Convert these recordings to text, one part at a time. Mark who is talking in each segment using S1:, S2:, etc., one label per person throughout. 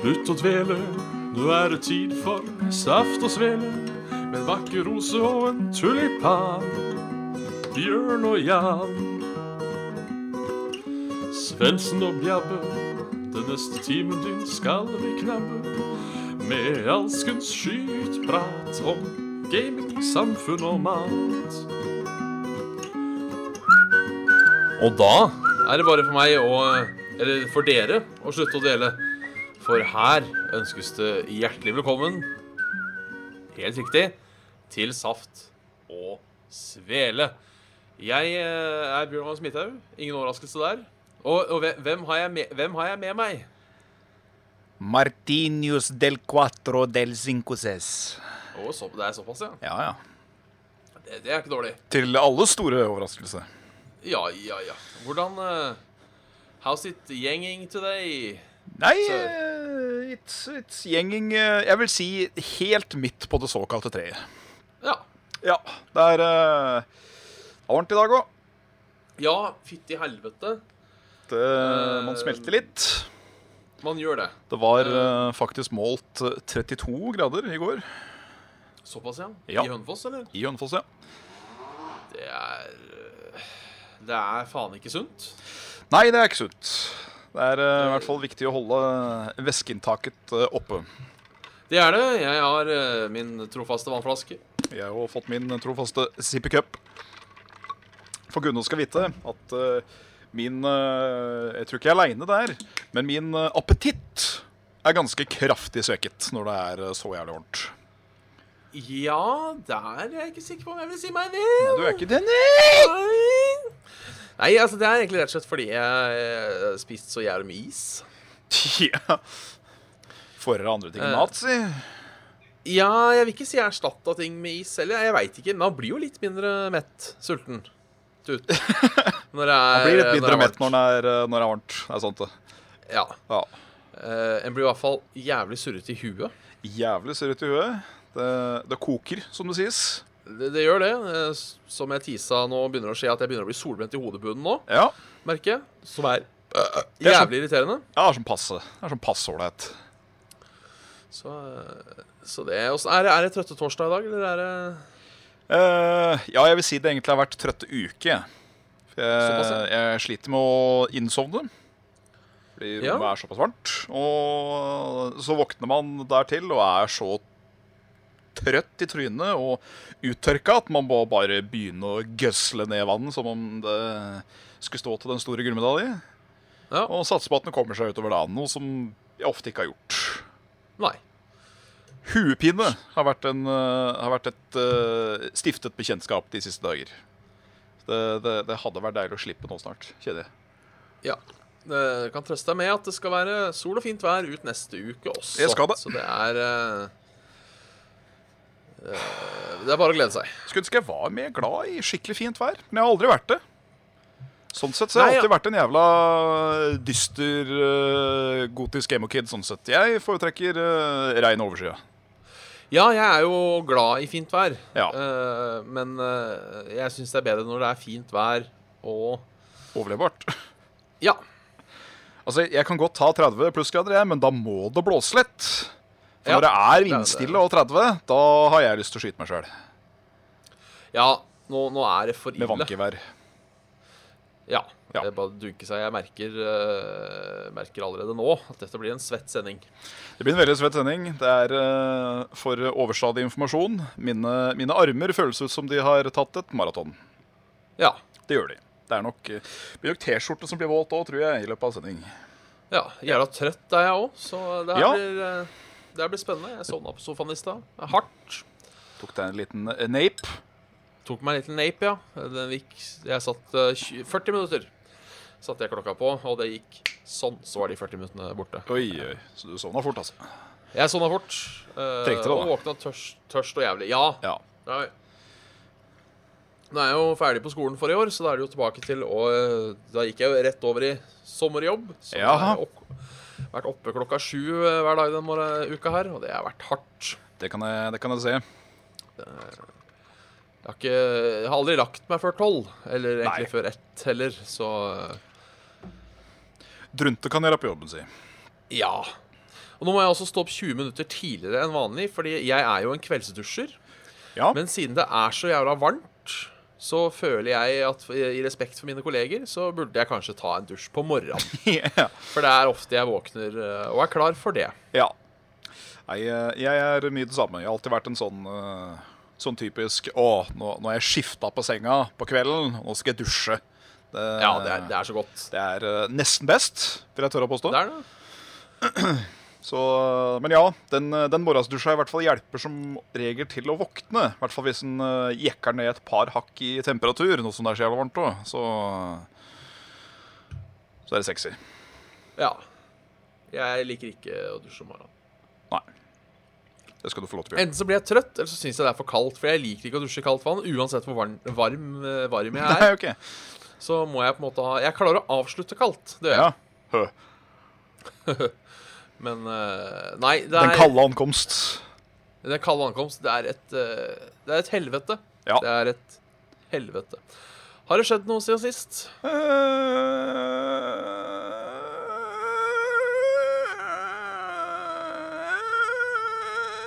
S1: Slutt å dvele, nå er det tid for saft og svele. Med en vakker rose og en tulipan. Bjørn og Jan. Svendsen og Bjabbe, den neste timen din skal vi knabbe. Med alskens skytprat om gaming, samfunn og mat. Og da er det bare for meg å Eller for dere å slutte å dele. For her ønskes det hjertelig velkommen, helt riktig, til Saft og Svele. Jeg eh, er Bjørn Magnus Midthaug. Ingen overraskelse der. Og, og hve- hvem, har jeg med, hvem har jeg med meg?
S2: Martinius del cuatro del cincuses.
S1: Å, så, det er såpass, ja.
S2: Ja, ja.
S1: Det, det er ikke dårlig.
S2: Til alles store overraskelse.
S1: Ja, ja, ja. Hvordan eh, How's it gjenging today?
S2: Nei,
S1: Så-
S2: eh, it's, it's gjenging eh, Jeg vil si helt midt på det såkalte treet.
S1: Ja.
S2: Ja, det er eh, det var varmt i dag òg.
S1: Ja, fytti helvete.
S2: Man
S1: Eh,
S2: smelter litt.
S1: Man gjør det.
S2: Det var eh, faktisk målt eh, 32 grader i går
S1: Såpass, ja?
S2: Ja.
S1: I Hønefoss, eller?
S2: i Hønefoss, ja.
S1: Det er øh, Det er faen ikke sunt.
S2: Nei, det er ikke sunt. Det er eh, i hvert fall viktig å holde væskeinntaket eh, oppe.
S1: Det er det. Jeg har øh, min trofaste vannflaske.
S2: Jeg har jo fått min trofaste Zippy Cup. For Gunno skal vite at eh, min eh, Jeg tror ikke jeg er aleine der, men min eh, appetitt er ganske kraftig svekket når det er eh, så jævlig varmt.
S1: Ja, der er jeg ikke sikker på om jeg vil si meg enig.
S2: Du er ikke det, nei!
S1: Nei. Nei, altså det er egentlig rett og slett fordi jeg øh, spiste så jævlig med is.
S2: Ja. Får dere andre ting enn
S1: Eh.
S2: mat, si?
S1: Ja, jeg vil ikke si jeg erstatta ting med is heller. Jeg veit ikke. Men man blir jo litt mindre mett. Sulten. Tut. Når det er
S2: Man blir litt
S1: når det er
S2: mindre mett
S1: varmt.
S2: når det er, eh, når det er varmt. Det er sant, det.
S1: Ja.
S2: Ja.
S1: Eh, en blir i hvert fall jævlig surrete i huet.
S2: Jævlig surrete i huet. Det, det koker, som det sies.
S1: Det, det gjør det. Eh, s- Som jeg tisa nå, begynner det å skje at jeg begynner å bli solbrent i hodebunnen nå,
S2: Ja.
S1: merker jeg. Som er
S2: Det er sånn-
S1: jævlig irriterende.
S2: Ja, det er sånn passe. Det er sånn passe ålreit.
S1: Så, eh, så det og så er, det- er det trøtte torsdag i dag, eller er det
S2: Eh, ja, jeg vil si det egentlig har vært trøtte uke. jeg. For
S1: Såpass,
S2: Jeg, jeg sliter med å innsovne. Fordi
S1: Ja.
S2: rommet er såpass varmt. Og så våkner man dertil og er så trøtt i trynet og uttørka at man må bare begynne å gøsle ned vann som om det skulle stå til den store gullmedalje.
S1: Ja.
S2: Og satse på at den kommer seg utover dagen, noe som jeg ofte ikke har gjort.
S1: Nei.
S2: Huepine har vært, en, eh, har vært et eh, stiftet bekjentskap de siste dager. Det, det, det hadde vært deilig å slippe nå snart, kjenner jeg.
S1: Ja. Eh, Jeg kan trøste deg med at det skal være sol og fint vær ut neste uke også.
S2: Det skal det.
S1: Så det er eh, eh, Det er bare å glede seg.
S2: Skulle ønske jeg var mer glad i skikkelig fint vær, men jeg har aldri vært det. Sånn sett så har
S1: Nei,
S2: jeg
S1: ja.
S2: alltid vært en jævla dyster, eh, gotisk emo-kid. Sånn sett. Jeg foretrekker eh, regn over skya.
S1: Ja, jeg er jo glad i fint vær.
S2: Ja.
S1: Eh, men eh, jeg syns det er bedre når det er fint vær og
S2: Overlevbart.
S1: Ja.
S2: Altså, jeg kan godt ta 30 plussgrader, jeg, men da må det blåse litt. For
S1: Ja,
S2: når det er
S1: det er det.
S2: vindstille og 30, da har jeg lyst til å skyte meg sjøl
S1: Ja, nå, nå er det for ille.
S2: med vannkevær.
S1: Ja.
S2: Ja.
S1: Det er bare å dunke seg. Jeg merker, eh, merker allerede nå at dette blir en svett sending.
S2: Det blir en veldig svett sending. Det er eh, for overstadig informasjon. Mine, mine armer føles ut som de har tatt et maraton.
S1: Ja.
S2: Det gjør de. Det er nok, eh, det blir nok T-skjorte som blir våt òg, tror jeg, i løpet av sending.
S1: ja. Jævla trøtt er jeg òg, så det her,
S2: Ja.
S1: blir, eh, det her blir spennende. Jeg sovna på sofaen i stad. Det er Hardt.
S2: Tok deg en liten eh, nape.
S1: Tok meg en liten nape, ja. Den gikk Jeg satt eh, 20 40 minutter. Satte jeg klokka på, og det gikk sånn. Så var de 40 minuttene borte.
S2: Oi, oi. Så du sovna fort, altså.
S1: Jeg sovna fort. eh,
S2: Trengte det, da.
S1: Og våkna tørst, tørst og jævlig. Ja.
S2: Ja.
S1: Nei. Nå er jeg jo ferdig på skolen for i år, så da er det jo tilbake til å eh, Da gikk jeg jo rett over i sommerjobb. Så da
S2: Jaha.
S1: har jeg opp, vært oppe klokka sju eh, hver dag denne morgen- eh, uka her, og det har vært hardt.
S2: Det kan jeg, det kan jeg se.
S1: Jeg har, ikke, jeg har aldri lagt meg før tolv, eller egentlig
S2: Nei.
S1: før ett heller, så
S2: Drunte kan gjøre opp jobben sin.
S1: eh, ja. Og nå må jeg også stå opp 20 minutter tidligere enn vanlig, fordi jeg er jo en kveldsdusjer.
S2: Ja.
S1: Men siden det er så jævla varmt, så føler jeg at i respekt for mine kolleger, så burde jeg kanskje ta en dusj på morgenen.
S2: ja.
S1: For det er ofte jeg våkner eh, og er klar for det.
S2: ja. Nei, eh, jeg er mye det samme. Jeg har alltid vært en sånn eh, Sånn typisk Å, nå, nå har jeg skifta på senga på kvelden, nå skal jeg dusje. Det,
S1: Ja, det er, det er så godt.
S2: det er, eh, nesten best, vil jeg tørre å påstå.
S1: Det er det.
S2: Så, men ja, den, eh, den morgensdusja i hvert fall hjelper som regel til å våkne. I hvert fall hvis en eh, jekker ned et par hakk i temperatur, nå som det er så jævla varmt òg. Så, så er det sexy.
S1: Ja. Jeg liker ikke å dusje om morgenen.
S2: Nei. Det skal du få lov til å gjøre.
S1: Enten så blir jeg trøtt, eller så syns jeg det er for kaldt. For jeg liker ikke å dusje i kaldt vann, uansett hvor varm, varm, eh, varm jeg
S2: Nei,
S1: er.
S2: ok.
S1: Så må jeg på en måte ha Jeg klarer å avslutte kaldt, det gjør jeg.
S2: Ja. Hø.
S1: Men eh, nei, det er
S2: Den kalde ankomst.
S1: Den kalde ankomst, det er et, eh, det er et helvete.
S2: Ja.
S1: Det er et helvete. Har det skjedd noe siden sist?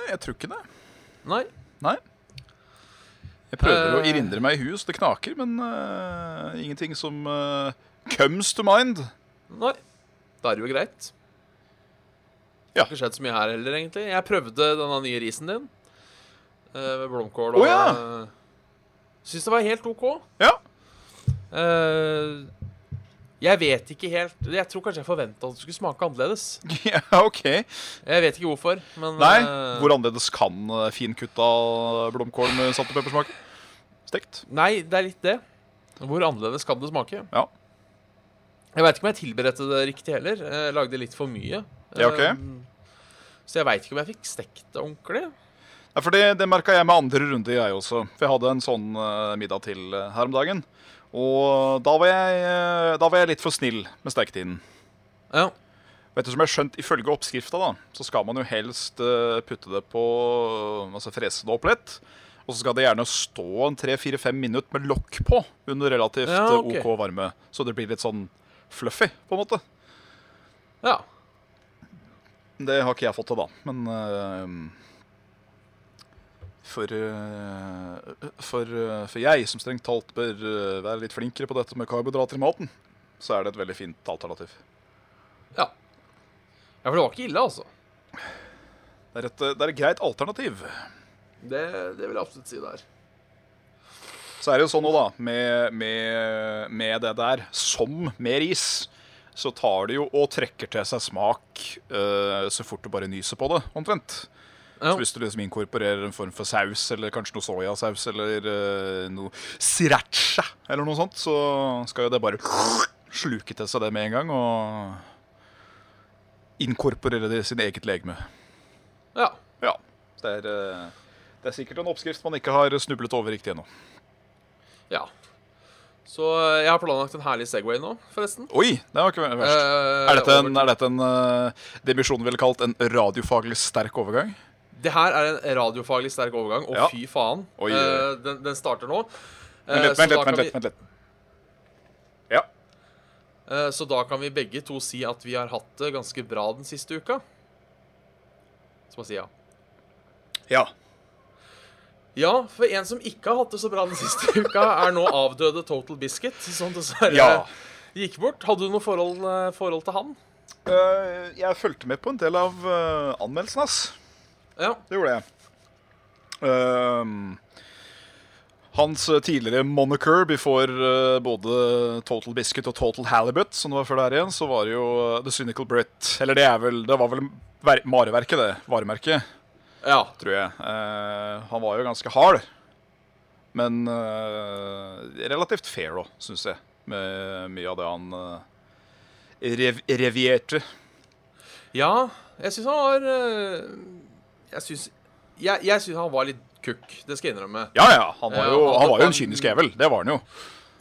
S2: Jeg tror ikke det.
S1: Nei.
S2: Nei. Jeg prøver å
S1: Eh.
S2: erindre meg i hus. Det knaker, men eh, ingenting som eh, comes to mind.
S1: Nei. Da er det jo greit.
S2: Ja.
S1: Det har ikke skjedd så mye her heller, egentlig. Jeg prøvde denne nye risen din eh, med blomkål
S2: Å,
S1: og
S2: ja.
S1: eh, Syns det var helt OK.
S2: Ja.
S1: Eh, jeg vet ikke helt Jeg tror kanskje jeg forventa at det skulle smake annerledes.
S2: ja, OK.
S1: Jeg vet ikke hvorfor, men
S2: Nei,
S1: eh,
S2: hvor annerledes kan eh, finkutta blomkål med salt og pepper smake? Stekt.
S1: Nei, det er litt det. Hvor annerledes kan det smake?
S2: Ja.
S1: Jeg veit ikke om jeg tilberedte det riktig heller. Jeg lagde litt for mye.
S2: Ja, ok.
S1: Um, Så jeg veit ikke om jeg fikk stekt det ordentlig.
S2: Ja, for Det, det merka jeg med andre runde, jeg også. For jeg hadde en sånn eh, middag til eh, her om dagen. Og da var, jeg, eh, da var jeg litt for snill med steketiden.
S1: Ja,
S2: Vet du som jeg har skjønt, Ifølge oppskrifta da, så skal man jo helst eh, putte det på Altså frese det opp litt. Og så skal det gjerne stå en 3-4-5 minutter med lokk på under relativt
S1: Ja,
S2: eh,
S1: ok.
S2: OK varme. Så det blir litt sånn fluffy, på en måte.
S1: ja.
S2: Det har ikke jeg fått til, da. Men eh, for, eh, for, eh, for jeg, som strengt talt bør eh, være litt flinkere på dette med karbohydrater i maten, så er det et veldig fint alternativ.
S1: ja. Ja, For det var ikke ille, altså.
S2: Det er et, eh, det er et greit alternativ.
S1: Det, det vil jeg absolutt si det er.
S2: Så er det jo sånn nå, da, med, med, med det der, som med ris, så tar det jo og trekker til seg smak eh, så fort du bare nyser på det, omtrent.
S1: Ja.
S2: Så hvis du liksom inkorporerer en form for saus, eller kanskje noe soyasaus, eller eh, noe sriracha, eller noe sånt, så skal jo det bare sluke til seg det med en gang, og inkorporere det i sin eget legeme.
S1: ja.
S2: Ja, det er, eh, det er sikkert en oppskrift man ikke har snublet over riktig ennå.
S1: ja. Så eh, jeg har planlagt en herlig Segway nå, forresten.
S2: Oi, det var ikke verst.
S1: Eh,
S2: Er dette en,
S1: over-
S2: er dette en eh, det misjonen ville kalt en radiofaglig sterk overgang?
S1: Det her er en radiofaglig sterk overgang, og
S2: Ja.
S1: fy faen.
S2: Oi.
S1: Eh, den, den starter nå.
S2: Vent
S1: Eh,
S2: litt,
S1: så
S2: vent
S1: da
S2: litt.
S1: kan
S2: Vent
S1: vi-
S2: litt, vent litt. Ja.
S1: Eh, Så da kan vi begge to si at vi har hatt det ganske bra den siste uka. Så må jeg si ja.
S2: ja.
S1: Ja, for en som ikke har hatt det så bra den siste uka, er nå avdøde Total Biscuit, som dessverre
S2: Ja.
S1: gikk bort. Hadde du noe forhold, eh, forhold til han?
S2: Eh, jeg fulgte med på en del av eh, anmeldelsen hans.
S1: Ja.
S2: Det gjorde jeg. Ehm, hans eh, tidligere moniker before eh, både Total Biscuit og Total Halibut, som det var før det her igjen, så var det jo eh, The Cynical Brit. Eller det er vel Det var vel ver- mareverket, det. Varemerket,
S1: Ja.
S2: tror jeg. Eh, han var jo ganske hard. Men eh, relativt fair òg, syns jeg. Med mye av det han eh, rev revierte.
S1: ja jeg syns han var eh, Jeg syns jeg, jeg synes han var litt kukk, det skal jeg innrømme.
S2: Ja ja, han var jo,
S1: Ja, han-
S2: han var jo en kynisk jævel. Det var han jo.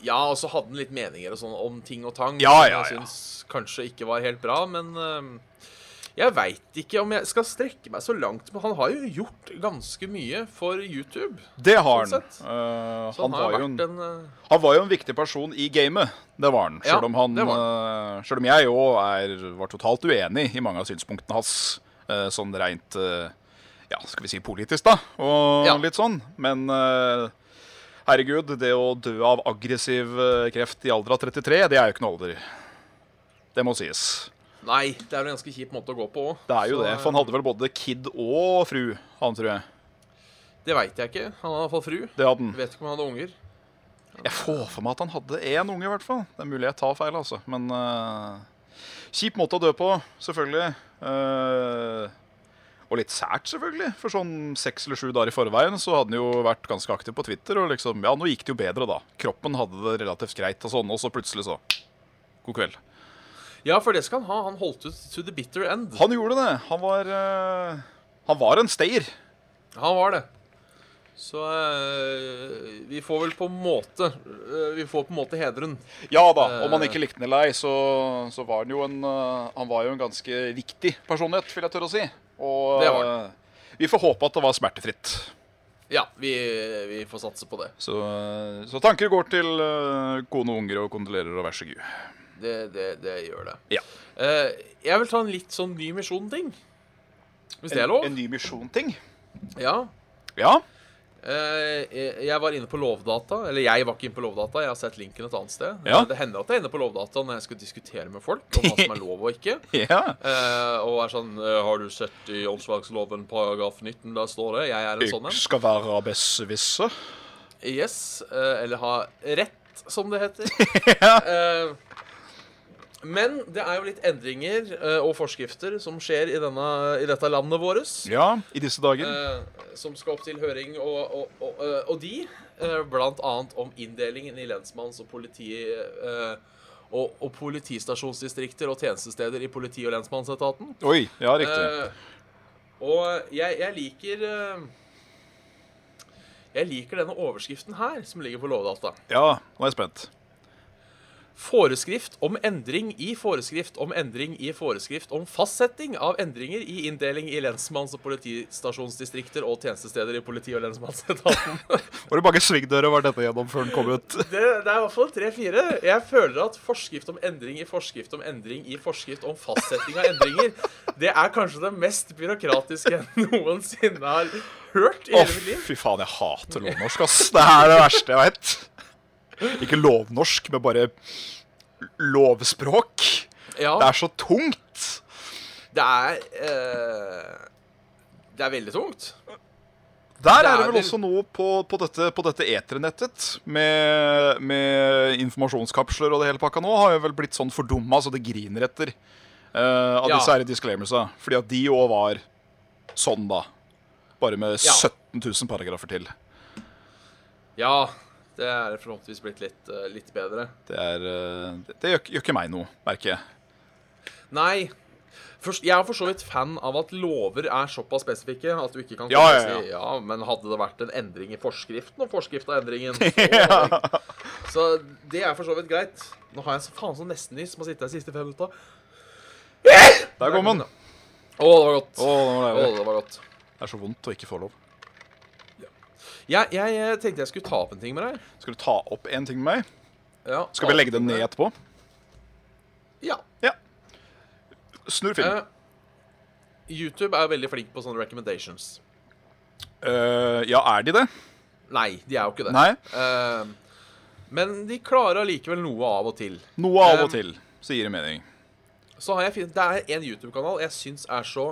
S1: Ja, og så hadde han litt meninger og sånn om ting og tang.
S2: Ja,
S1: som
S2: ja,
S1: jeg
S2: ja.
S1: syns kanskje ikke var helt bra, men øhm, jeg veit ikke om jeg skal strekke meg så langt. Men han har jo gjort ganske mye for YouTube.
S2: Det har
S1: Sånn
S2: han.
S1: sett.
S2: Eh, han,
S1: Så han, har
S2: var jo
S1: jo
S2: en,
S1: vært en, øh,
S2: han var jo en viktig person i gamet. Det var han.
S1: Ja,
S2: Sjøl om, han,
S1: det var
S2: eh, selv om jeg òg var totalt uenig i mange av synspunktene hans. eh, sånn rent eh, Ja, skal vi si politisk, da, og
S1: Ja.
S2: litt sånn. Men eh, herregud, det å dø av aggressiv eh, kreft i alder av 33, det er jo ikke noe alder. Det må sies.
S1: Nei, det er jo en ganske kjip måte å gå på òg.
S2: Det er jo
S1: Så,
S2: det. For han hadde vel både kid og fru, han tror jeg.
S1: eh, Det veit jeg ikke. Han hadde iallfall fru.
S2: Det hadde han.
S1: Jeg vet ikke om han hadde unger.
S2: Jeg får for meg at han hadde én unge, i hvert fall. Det er mulig jeg tar feil, altså. Men eh, kjip måte å dø på, selvfølgelig. Eh, og litt sært, selvfølgelig. For sånn seks eller sju dager i forveien så hadde han jo vært ganske aktiv på Twitter. Og liksom, ja, nå gikk det jo bedre, da. Kroppen hadde det relativt greit og sånn. Og så plutselig så God kveld.
S1: Ja, for det skal han ha. Han holdt ut to the bitter end.
S2: Han gjorde det. Han var eh, Han var en stayer.
S1: Han var det. Så eh, vi får vel på en måte eh, Vi får på en måte hedren.
S2: Ja da. Om han
S1: Eh.
S2: ikke likte den eller ei, så, så var han jo en eh, Han var jo en ganske viktig personlighet, vil jeg tørre å si. Og
S1: Det var
S2: eh, vi får håpe at det var smertefritt.
S1: Ja, vi, eh, vi får satse på det.
S2: Så, eh, så tanker går til eh, kone og unger og kondolerer og vær så god.
S1: Det, det, det gjør det.
S2: Ja.
S1: Eh, jeg vil ta en litt sånn ny misjon-ting. Hvis det er lov?
S2: En, ny misjon-ting.
S1: Ja.
S2: Ja.
S1: Eh, jeg- jeg var inne på Lovdata. Eller jeg var ikke inne på Lovdata. Jeg har sett linken et annet sted.
S2: Ja.
S1: Eh, Det hender at jeg er inne på Lovdata når jeg skal diskutere med folk om hva som er lov og ikke.
S2: ja.
S1: Eh, og er sånn eh, Har du sett i åndsverksloven paragraf 19? Der står det. Jeg er en sånn en.
S2: Ykk skal være besserwisser.
S1: Yes, eh, eller ha rett, som det heter. Eh, Men det er jo litt endringer eh, og forskrifter som skjer i, denne, i dette landet vårt.
S2: Ja, i disse dager.
S1: eh, Som skal opp til høring, og, og, og, eh, og de, eh, blant annet om inndelingen i lensmanns- og politi... eh, Og, og politistasjonsdistrikter og tjenestesteder i politi- og lensmannsetaten.
S2: Oi. Ja, riktig.
S1: Eh, og jeg, jeg liker eh, Jeg liker denne overskriften her, som ligger på Lovdata.
S2: Ja, nå er jeg spent.
S1: Foreskrift om endring i foreskrift om endring i foreskrift om fastsetting av endringer i inndeling i lensmanns- og politistasjonsdistrikter og tjenestesteder i politi- og lensmannsetaten.
S2: Hvor mange svingdører var dette gjennom før den kom ut?
S1: Det, det er i hvert fall tre-fire. Jeg føler at forskrift om endring i forskrift om endring i forskrift om fastsetting av endringer, det er kanskje det mest byråkratiske jeg noensinne har hørt i
S2: Å,
S1: hele mitt liv.
S2: fy faen, jeg hater lovnorsk, ass. Det er det verste jeg veit. Ikke lovnorsk, men bare lovspråk.
S1: Ja,
S2: Det er så tungt.
S1: det er eh, Det er veldig tungt.
S2: Der
S1: Det
S2: er det
S1: er
S2: vel
S1: vel-
S2: også noe på, på dette, på dette eternettet med, med informasjonskapsler og det hele pakka nå, har jo vel blitt sånn fordumma så det griner etter eh, av
S1: Ja.
S2: disse her disclaimersa. Fordi at de òg var sånn, da. Bare med
S1: Ja.
S2: 17 000 paragrafer til.
S1: Ja, det er forhåpentligvis blitt litt, eh, litt bedre.
S2: Det, er, eh, det, det gjør, ikke- gjør ikke meg noe, merker jeg.
S1: Nei. Først, jeg er for så vidt fan av at lover er såpass spesifikke at du ikke kan
S2: Ja,
S1: komme og
S2: ja, ja.
S1: si ja, men hadde det vært en endring i forskriften og forskrift av endringen så, så det er for så vidt greit. Nå har jeg så faen så nesten nys som har sittet her de siste fem minutta.
S2: Der kom den.
S1: Å, det var godt.
S2: Å, nå ble
S1: Å,
S2: jeg vekk.
S1: det var godt.
S2: Det er så vondt å ikke få lov.
S1: Jeg, jeg eh, tenkte jeg skulle ta opp en ting med deg.
S2: Skal du ta opp en ting med meg?
S1: Ja,
S2: Skal vi legge det ned etterpå?
S1: Ja.
S2: Snurr film.
S1: eh, YouTube er veldig flink på sånne recommendations.
S2: Eh, ja, er de det?
S1: Nei, de er jo ikke det.
S2: Nei.
S1: Eh, men de klarer allikevel noe av og til.
S2: Noe av og
S1: Eh,
S2: til, så gir det mening.
S1: Så har jeg funnet Det er en YouTube-kanal jeg syns er så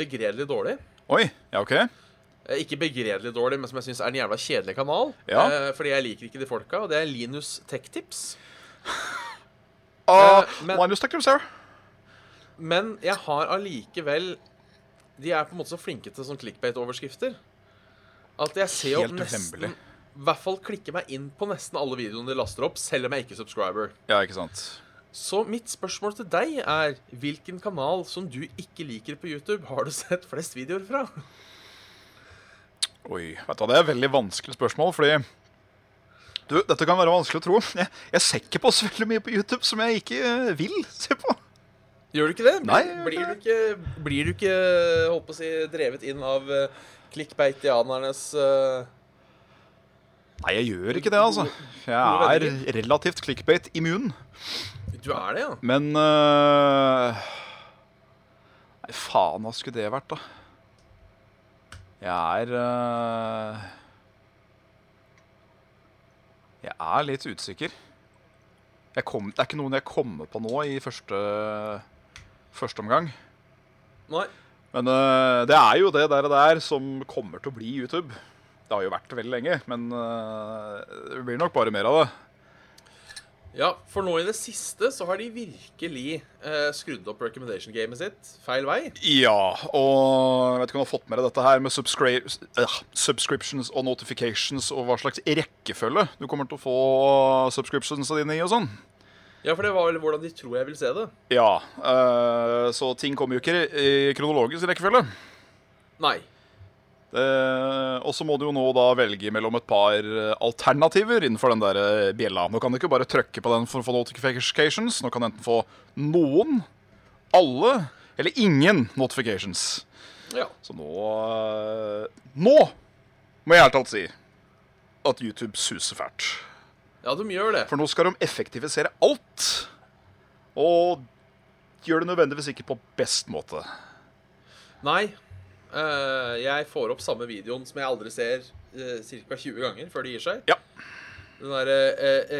S1: begredelig dårlig.
S2: Oi, ja, OK.
S1: Eh, Ikke begredelig dårlig, men som jeg syns er en jævla kjedelig kanal.
S2: Ja.
S1: Eh, fordi jeg liker ikke de folka. Og det er Linus Tech Tips.
S2: Ah,
S1: men-
S2: Linus Tucker, sir.
S1: Men jeg har allikevel De er på en måte så flinke til sånn clickbait-overskrifter at jeg ser jo
S2: Helt
S1: nesten
S2: uhemmelig.
S1: I hvert fall klikker meg inn på nesten alle videoene de laster opp, selv om jeg ikke er subscriber.
S2: Ja, ikke sant.
S1: Så mitt spørsmål til deg er hvilken kanal som du ikke liker på YouTube, har du sett flest videoer fra?
S2: Oi, vet du hva, Det er et veldig vanskelig spørsmål, fordi du, Dette kan være vanskelig å tro. Jeg, jeg ser ikke på så veldig mye på YouTube som jeg ikke eh, vil se på.
S1: Gjør du ikke det? Blir,
S2: Nei, jeg gjør
S1: blir, du ikke, blir du ikke holdt på å si, drevet inn av eh, clickbaitianernes eh,
S2: Nei, jeg gjør ikke det, altså. Jeg er relativt clickbait-immun.
S1: Du er det, ja?
S2: Men eh, Nei, faen, hva skulle det vært, da? Jeg er eh, Jeg er litt usikker. Jeg kom, det er ikke noen jeg kommer på nå i første, første omgang.
S1: Nei.
S2: Men eh, det er jo det der, der som kommer til å bli YouTube. Det har jo vært det veldig lenge, men eh, det blir nok bare mer av det.
S1: Ja, for nå i det siste så har de virkelig eh, skrudd opp recommendation-gamet sitt feil vei.
S2: Ja, og jeg vet ikke om du har fått med deg dette her med subscri øh, subscriptions og notifications og hva slags rekkefølge du kommer til å få subscriptionsa dine i og sånn.
S1: Ja, for det var vel hvordan de tror jeg vil se det.
S2: Ja, øh, så ting kommer jo ikke i kronologisk rekkefølge.
S1: Nei.
S2: Eh, og så må du jo nå da velge mellom et par eh, alternativer innenfor den der eh, bjella. Nå kan du ikke bare trykke på den for å få notifications. Nå kan du enten få noen, alle eller ingen notifications.
S1: Ja.
S2: Så nå eh, Nå må jeg ærlig talt si at YouTube suser fælt.
S1: ja, de gjør det.
S2: For nå skal de effektivisere alt. Og gjør det nødvendigvis ikke på best måte.
S1: Nei. Eh, jeg får opp samme videoen som jeg aldri ser uh, ca. 20 ganger før de gir seg.
S2: Ja.
S1: Den derre uh,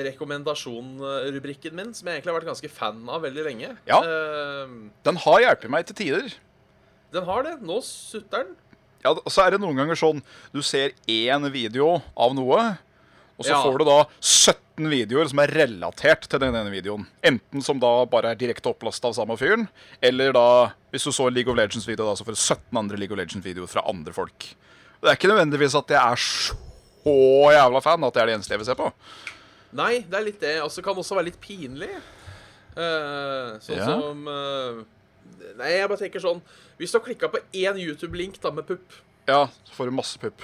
S1: rekommendasjon-rubrikken min, som jeg egentlig har vært ganske fan av veldig lenge.
S2: Ja.
S1: Eh,
S2: Den har hjulpet meg til tider.
S1: den har det. Nå sutter den.
S2: Ja, og så er det noen ganger sånn du ser én video av noe, og så
S1: Ja.
S2: får du da 17 videoer som er relatert til den ene videoen. Enten som da bare er direkte opplasta av samme fyren, eller da, hvis du så en League of Legends-video, da, så får du 17 andre League of Legends-videoer fra andre folk. Og det er ikke nødvendigvis at jeg er så jævla fan at det er det eneste jeg vil se på.
S1: Nei, det er litt det. Og så kan det også være litt pinlig. Eh, sånn
S2: Ja.
S1: som eh, Nei, jeg bare tenker sånn Hvis du har klikka på én YouTube-link da med pupp,
S2: Ja, så får du masse pupp.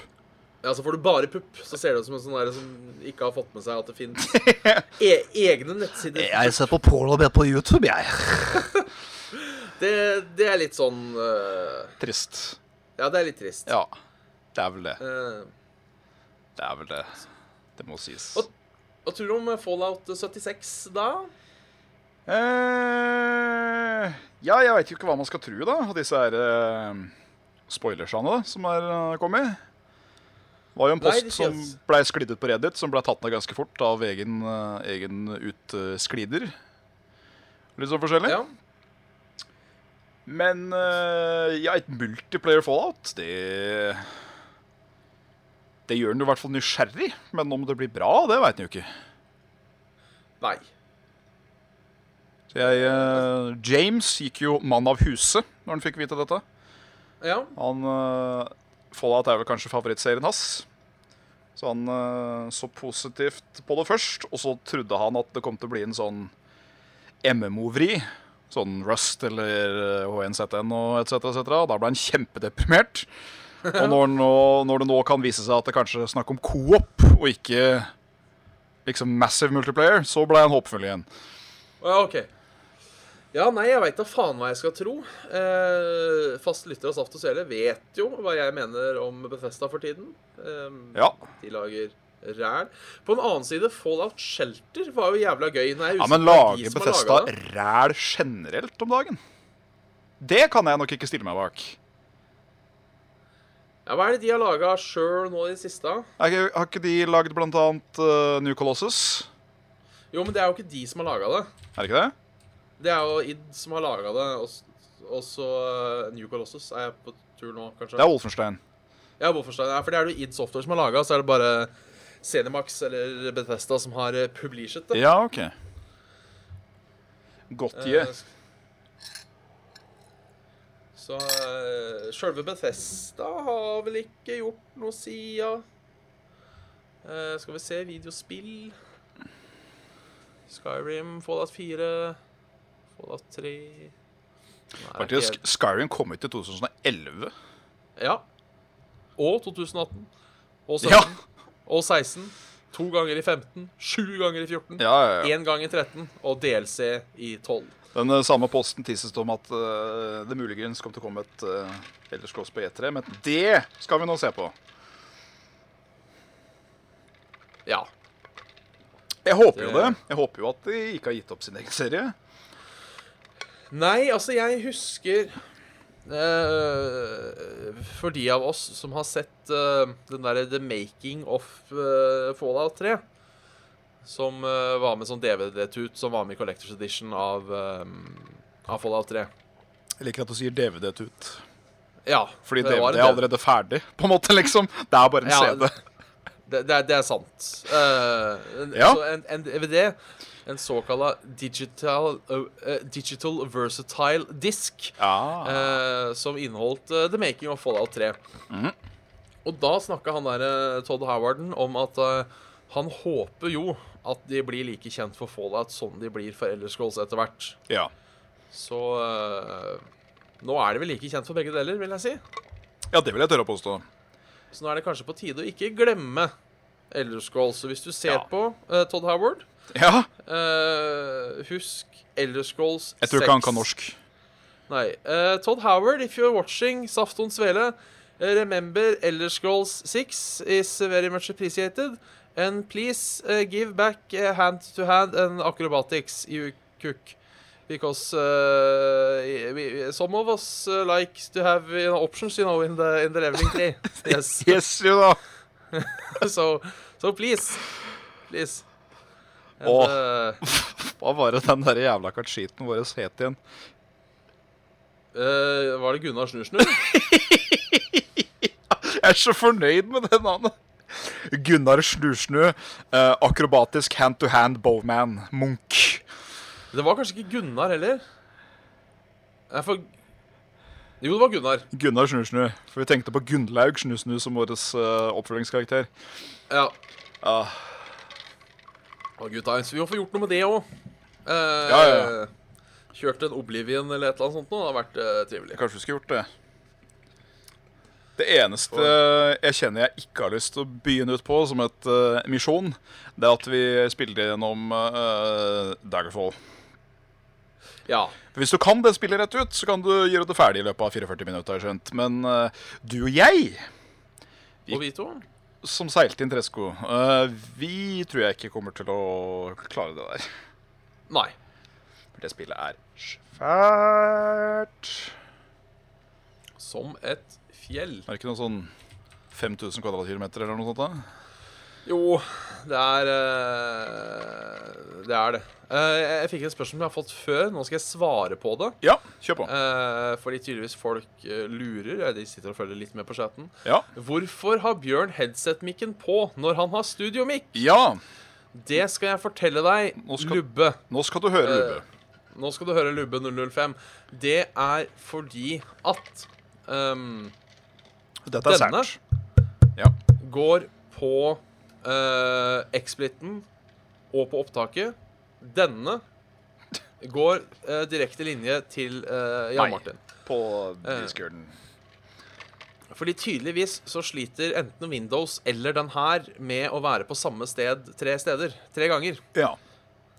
S1: ja, så får du bare pupp, så ser det ut som en sånn der som ikke har fått med seg at det fins e egne nettsider.
S3: Jeg ser på Paul og ber på YouTube, jeg.
S1: Det, det er litt sånn eh,
S2: Trist.
S1: Ja, det er litt trist.
S2: Ja. Det er vel det.
S1: Eh,
S2: Det er vel det. Det må sies.
S1: Og- hva tror du om Fallout 76 da?
S2: Eh, ja, jeg veit jo ikke hva man skal tro, da. av Disse her eh, spoilersene da, som er eh, kommet. Det var jo en
S1: Nei,
S2: post
S1: det
S2: som
S1: sies.
S2: blei sklidd ut på Reddit, som blei tatt ned ganske fort av egen, eh, egen utsklider. Litt sånn forskjellig.
S1: Ja.
S2: Men eh, ja, et multiplayer fallout, det Det gjør en jo i hvert fall nysgjerrig. Men om det blir bra, det veit en jo ikke.
S1: Nei.
S2: Så jeg, eh, James gikk jo mann av huse når han fikk vite dette.
S1: Ja.
S2: Han eh, Fallout er vel kanskje favorittserien hans. Så han eh, så positivt på det først, og så trodde han at det kom til å bli en sånn MMO-vri. Sånn Rust eller eh, H1ZN og etc. etc. Da ble han kjempedeprimert. Og når, nå, når det nå kan vise seg at det kanskje er snakk om co-op og ikke liksom massive multiplayer, så ble han håpefull igjen.
S1: Ja, ok. Ja, nei, jeg veit da faen hva jeg skal tro. Eh, fast lytter av Saft og Svele vet jo hva jeg mener om Bethesda for tiden. Eh,
S2: Ja,
S1: De lager ræl. På en annen side, Fallout Shelter var jo jævla gøy. Nei,
S2: ja Men
S1: lage
S2: lager Bethesda ræl generelt om dagen? Det kan jeg nok ikke stille meg bak.
S1: Ja, Hva er det de har laga sjøl nå i det siste? da?
S2: Er ikke- Har ikke de lagd blant annet eh, New Colossus?
S1: Jo, men det er jo ikke de som har laga det.
S2: Er det ikke det?
S1: Det er jo id som har laga det. Og s- og så eh, New Colossus er jeg på tur nå, kanskje.
S2: Det er Wolfenstein.
S1: Ja, Wolfenstein. Ja, for det er det jo id Software som har laga, så er det bare Cinemax eller Bethesda som har eh, publishet det.
S2: Ja, OK. Godtje.
S1: Eh, Så uh, sjølve Bethesda har vel ikke gjort noe sida Eh, Skal vi se videospill Skyrim, Fallout 4, Fallout 3 Nei, det er ikke
S2: Faktisk,
S1: helt-
S2: Skyrim kom ut i 2011.
S1: Ja. Og 2018. Og 17.
S2: Ja.
S1: Og 16. To ganger i 15. Sju ganger i 14.
S2: Ja, ja, ja.
S1: Én gang i 13. Og DLC i 12.
S2: Den eh, samme posten tisses det om at eh, det muligens kom til å komme et uh, Elders Cross på E3, men det skal vi nå se på.
S1: Ja.
S2: Jeg håper jo det.
S1: Det-
S2: Jeg håper jo at de ikke har gitt opp sin egen serie.
S1: Nei, altså, jeg husker eh, for de av oss som har sett eh, den derre The Making of eh, Fallout 3, som eh, var med sånn DVD-tut, som var med i Collectors Edition av, eh, av Fallout 3.
S2: Jeg liker at du sier DVD-tut.
S1: Ja,
S2: Fordi
S1: det
S2: DVD
S1: var en
S2: er allerede ferdig, på en måte, liksom. Det er bare en
S1: Ja,
S2: CD.
S1: Det, det, er, det er sant. Eh, en-
S2: Ja.
S1: Så en, en DVD, en såkalla digital, eh, eh, digital versatile disk,
S2: Ja.
S1: eh, som inneholdt eh, The Making of Fallout 3.
S2: Mhm.
S1: Og da snakka han der eh, Todd Howarden om at eh, han håper jo at de blir like kjent for Fallout som de blir for Elder Scrolls etter hvert.
S2: ja.
S1: Så eh, nå er de vel like kjent for begge deler, vil jeg si.
S2: ja, det vil jeg tørre å påstå.
S1: Så nå er det kanskje på tide å ikke glemme Elder Scrolls. Så hvis du ser
S2: Ja.
S1: på eh, Todd Howard,
S2: Ja,
S1: eh, husk Elder Scrolls 6.
S2: Jeg tror ikke han kan norsk.
S1: Nei. Eh, Todd Howard, if you're watching Safton Svele, eh, remember Elder Scrolls 6 is very much appreciated. And please eh, give back eh, hand to hand and acrobatics, you cook. Because eh, we, some of us eh, like to have you know, options, you know, in the, in the leveling tree. Yes.
S2: Yes, jo da.
S1: so, so please. Please. And,
S2: Åh.
S1: eh,
S2: Hva var det den der jævla katskiten vår het igjen?
S1: eh, var det Gunnar Snusnur?
S2: Jeg er så fornøyd med det navnet. Gunnar Snusnø, eh, akrobatisk hand-to-hand bowman, munk.
S1: Det var kanskje ikke Gunnar heller. Nei, for Jo, det var Gunnar.
S2: Gunnar Snusnø. For vi tenkte på Gunnlaug Snusnø som vår eh, oppfølgingskarakter.
S1: Ja.
S2: Ah.
S1: Å, gutta, så vi må få gjort noe med det òg.
S2: Ja, ja,
S1: Kjørt en Oblivion eller et eller annet sånt nå. Det har vært eh, trivelig.
S2: Kanskje vi skulle gjort det. Det eneste jeg kjenner jeg ikke har lyst til å begynne ut på som et eh, misjon, det er at vi spiller gjennom eh, Daggerfall.
S1: Ja.
S2: Hvis du kan det spillet rett ut, så kan du gjøre det ferdig i løpet av 44 minutter. har jeg skjønt. Men eh, du og jeg,
S1: Og vi to?
S2: som seilte inn tresko, eh, vi tror jeg ikke kommer til å klare det der.
S1: Nei.
S2: For det spillet er svært.
S1: Som et fjell.
S2: Er det ikke noe sånn 5000 kvadratkilometer eller noe sånt? da?
S1: Jo, det er eh, Det er det. Eh, jeg jeg fikk et spørsmål jeg har fått før. Nå skal jeg svare på det.
S2: Ja, kjør på.
S1: Eh, fordi tydeligvis folk eh, lurer. eh, De sitter og følger litt med på chatten.
S2: Ja.
S1: Hvorfor har Bjørn headset-mikken på når han har studiomikk?
S2: ja.
S1: Det skal jeg fortelle deg,
S2: Nå skal-
S1: Lubbe.
S2: Nå skal du høre, Lubbe.
S1: Nå skal du høre Lubbe 005. Det er fordi at ehm,
S2: Dette er
S1: denne?
S2: sært. Ja.
S1: går på uh, X-splitten og på opptaket. Denne går eh, direkte linje til eh, Jan
S2: Nei.
S1: Martin.
S2: På
S1: Eh.
S2: discorden.
S1: Fordi tydeligvis så sliter enten Windows eller den her med å være på samme sted tre steder. Tre ganger.
S2: Ja.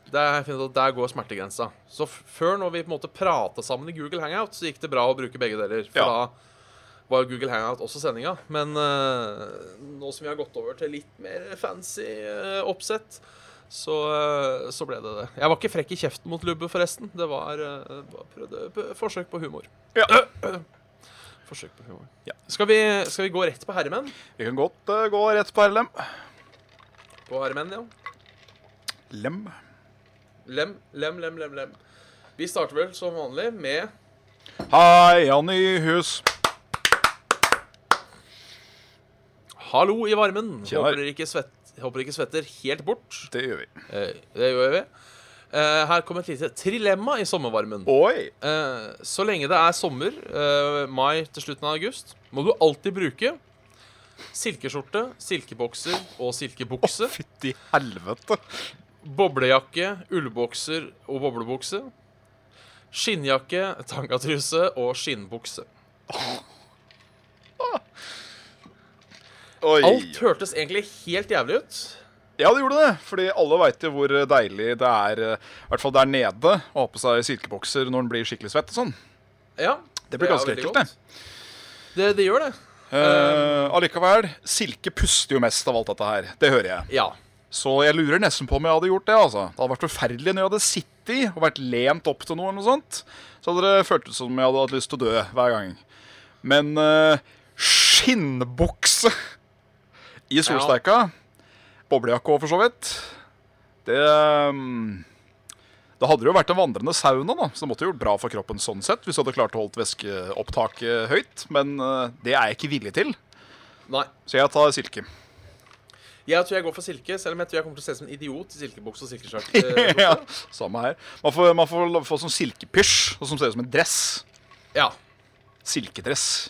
S1: Der, har jeg funnet ut at der går smertegrensa. Så f før, når vi på en måte prata sammen i Google Hangout, så gikk det bra å bruke begge deler. For
S2: Ja.
S1: da var Google Hangout også sendinga. Men eh, nå som vi har gått over til litt mer fancy eh, oppsett, så, eh, så ble det det. Jeg var ikke frekk i kjeften mot Lubbe, forresten. Det var eh, bare prøvde, p- forsøk på humor.
S2: ja.
S1: Forsøk på humor.
S2: Ja.
S1: Skal, vi, skal vi gå rett på herremenn?
S2: Vi kan godt eh, gå rett på RLM.
S1: På herremenn, ja.
S2: Lem.
S1: Lem, lem, lem, lem. lem. Vi starter vel som vanlig med
S2: Hei, Jan i hus.
S1: Hallo i varmen.
S2: Tjener.
S1: Håper dere ikke, svett, håper dere ikke svetter helt bort.
S2: Det gjør vi.
S1: Eh, det gjør vi. Eh, her kom et lite trilemma i sommervarmen.
S2: Oi.
S1: Eh, så lenge det er sommer, eh, mai til slutten av august, må du alltid bruke silkeskjorte, silkebokser og silkebukse.
S2: Fytti helvete.
S1: Boblejakke, ullbokser og boblebukse. Skinnjakke, tangatruse og skinnbukse.
S2: Oi.
S1: Alt hørtes egentlig helt jævlig ut.
S2: Ja, det gjorde det. Fordi alle veit jo hvor deilig det er, eh, i hvert fall der nede, å ha på seg silkebokser når en blir skikkelig svett og sånn.
S1: Ja.
S2: Det blir
S1: er
S2: ganske
S1: veldig
S2: ekkelt, det.
S1: godt. det. Det gjør det.
S2: Eh, allikevel, silke puster jo mest av alt dette her. Det hører jeg.
S1: Ja.
S2: Så jeg lurer nesten på om jeg hadde gjort det. altså. Det hadde vært forferdelig når jeg hadde sittet i og vært lent opp til noe. eller noe sånt. Så hadde det føltes som om jeg hadde hatt lyst til å dø hver gang. Men eh, skinnbukse i solsteika, boblejakke òg, for så vidt, det mm, Da hadde det jo vært en vandrende sauna, da, så det måtte jo gjort bra for kroppen sånn sett, hvis du hadde klart å holdt væskeopptaket høyt. Men eh, det er jeg ikke villig til,
S1: Nei.
S2: så jeg tar silke.
S1: Jeg tror jeg går for silke, selv om jeg tror jeg kommer til å se ut som en idiot i silkebukse og silkeskjørt. eh,
S2: ja, samme her. Man får, man får la- få sånn silkepysj, og som ser ut som en dress.
S1: ja.
S2: Silkedress.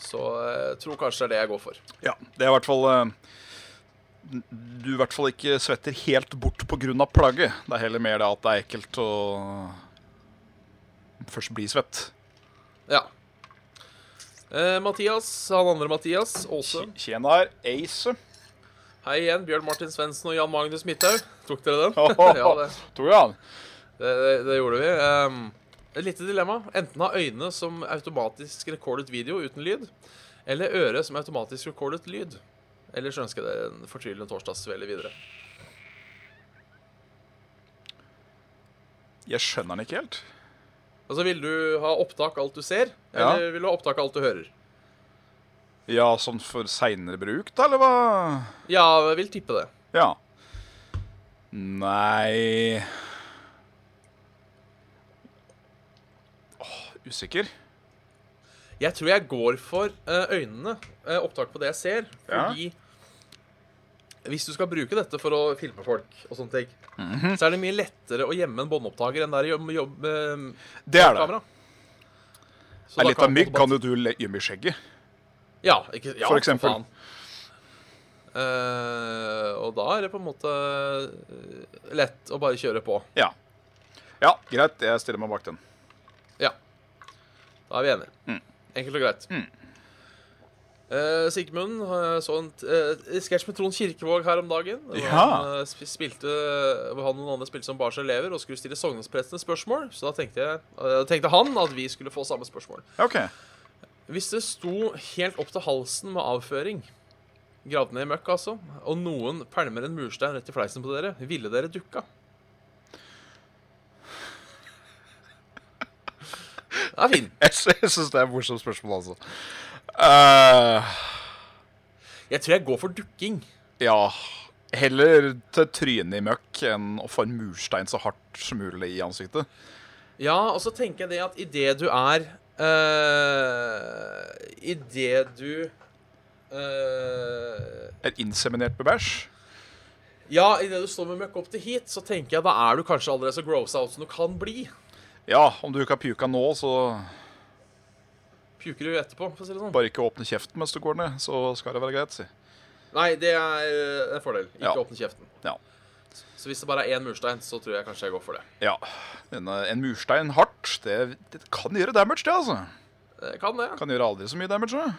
S1: Så jeg tror kanskje det er det jeg går for.
S2: Ja, det er i hvert fall eh, Du i hvert fall ikke svetter helt bort pga. plagget. Det er heller mer det at det er ekkelt å først bli svett.
S1: Ja. Eh, Mathias, han andre Mathias, Åse.
S2: Tjena her, Ace.
S1: Hei igjen, Bjørn Martin Svendsen og Jan Magnus Midthaug. Tok dere den? ja, det,
S2: Tror jeg.
S1: det, det, det gjorde vi. Ehm, et lite dilemma. Enten ha øyne som automatisk recordet video uten lyd, eller øre som automatisk recordet lyd. Ellers ønsker jeg dere en fortvilende torsdagsvelde videre.
S2: Jeg skjønner den ikke helt.
S1: Altså, Vil du ha opptak alt du ser,
S2: Ja.
S1: eller vil du ha opptak alt du hører?
S2: Ja, sånn for seinere bruk, da, eller hva?
S1: Ja, jeg vil tippe det.
S2: Ja. Nei Åh, Usikker?
S1: Jeg tror jeg går for eh, øynene. eh, opptak på det jeg ser.
S2: Ja.
S1: Fordi hvis du skal bruke dette for å filme folk, og sånne ting,
S2: Mhm.
S1: så er det mye lettere å gjemme en båndopptaker enn det er å jobbe, jobbe med
S2: Det er det.
S1: kamera. Så
S2: Er
S1: da
S2: litt av
S1: kan-
S2: mygg kan jo du le- gjemme i skjegget.
S1: ja, ikke, ja,
S2: for eksempel.
S1: faen. Eh, og da er det på en måte eh, lett å bare kjøre på.
S2: Ja. ja, greit. Jeg stiller meg bak den.
S1: Ja. Da er vi enige. Enkelt og greit. Eh, Sigmund eh, så en uh, sketsj med Trond Kirkevåg her om dagen. Hvor
S2: Ja.
S1: han, eh, sp- spilte, hvor han og noen andre spilte som barsk elever og skulle stille sognesprestene spørsmål. Så da tenkte, jeg, eh, tenkte han at vi skulle få samme spørsmål.
S2: Ja, OK.
S1: Hvis det sto helt opp til halsen med avføring, gravd ned i møkk altså, og noen pælmer en murstein rett i fleisen på dere, ville dere dukka? Det er fin.
S2: Jeg, sy- jeg syns det er et morsomt spørsmål, altså. Eh,
S1: Jeg tror jeg går for dukking.
S2: ja. Heller til trynet i møkk enn å få en murstein så hardt som mulig i ansiktet.
S1: Ja, og så tenker jeg det at idet du er øh, Idet du øh,
S2: Et inseminert med bæsj.
S1: Ja, idet du står med møkk opp til hit, så tenker jeg da er du kanskje allerede så grossa out som du kan bli.
S2: Ja, om du ikke har pjuka nå, så
S1: Puker du etterpå, for å si det sånn.
S2: Bare ikke åpne kjeften mens du går ned, så skal det være greit, si.
S1: Nei, det er eh, en fordel. Ikke
S2: Ja.
S1: åpne kjeften.
S2: Ja.
S1: Så hvis det bare er én murstein, så tror jeg kanskje jeg går for det.
S2: ja. En, en murstein hardt, det, det kan gjøre damage, det, altså.
S1: Eh, Kan det.
S2: Kan gjøre aldri så mye damage. da.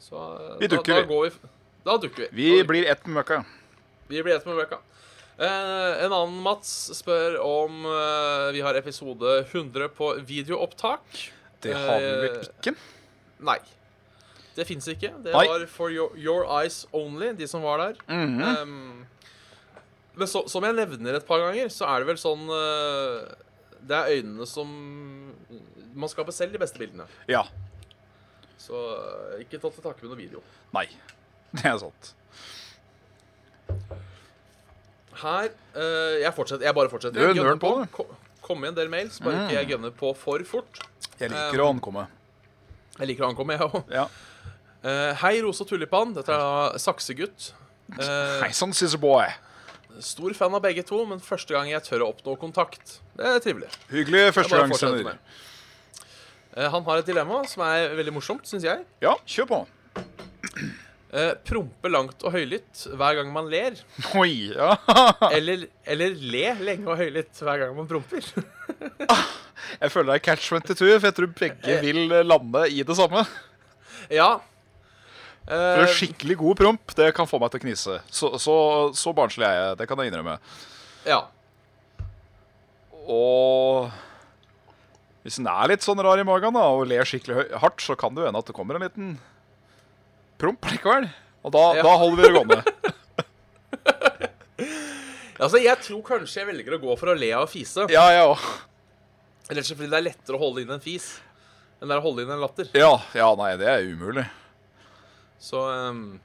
S1: Så eh,
S2: Vi dukker, vi.
S1: da, da går vi. f- Da dukker vi.
S2: Vi
S1: Da dukker-
S2: blir ett med møkka.
S1: vi blir ett med Rebecca. Eh, en annen Mats spør om eh, vi har episode 100 på videoopptak.
S2: Det har vi vel
S1: Eh,
S2: ikke.
S1: Nei. Det fins ikke. Det
S2: Nei.
S1: var for your, your Eyes Only, de som var der.
S2: Mhm.
S1: Ehm, men så, som jeg nevner et par ganger, så er det vel sånn eh, Det er øynene som Man skaper selv de beste bildene.
S2: Ja.
S1: Så eh, ikke ta til takke med noe video.
S2: Nei. Det er sant.
S1: Her eh, Jeg fortsetter. Jeg bare fortsetter.
S2: Du,
S1: Jeg gønner
S2: nøl på, Mhm. du.
S1: Ko- Kom igjen en del mails, bare ikke jeg gønner på for fort.
S2: Jeg liker
S1: Eh,
S2: å ankomme.
S1: Jeg liker å ankomme, jeg òg.
S2: Ja.
S1: hei, Rose og Tulipan. Dette er da Saksegutt. Eh,
S2: Hei sann, scissor boy.
S1: stor fan av begge to, men første gang jeg tør å oppnå kontakt. Det er trivelig.
S2: Hyggelig
S1: Jeg bare fortsetter
S2: førstegangssender.
S1: med. Eh, Han har et dilemma som er veldig morsomt, syns jeg.
S2: Ja, kjør på.
S1: Eh, Prompe langt og høylytt hver gang man ler,
S2: Oi, ja.
S1: eller, eller le lenge og høylytt hver gang man promper.
S2: Jeg føler det er catch 22, for jeg tror begge vil eh, lande i det samme.
S1: ja.
S2: For
S1: Eh,
S2: en skikkelig god promp, det kan få meg til å knise. Så, så, så barnslig er jeg, det kan jeg innrømme.
S1: ja.
S2: Og hvis den er litt sånn rar i magen da, og ler skikkelig høy- hardt, så kan det jo hende at det kommer en liten promp likevel. Og da,
S1: Ja.
S2: da holder vi det gående.
S1: Altså, Jeg tror kanskje jeg velger å gå for å le av å fise.
S2: Ja, jeg òg.
S1: Rett og slett fordi det er lettere å holde inn en fis enn det er å holde inn en latter.
S2: Ja, ja, nei, det er umulig.
S1: Så ehm,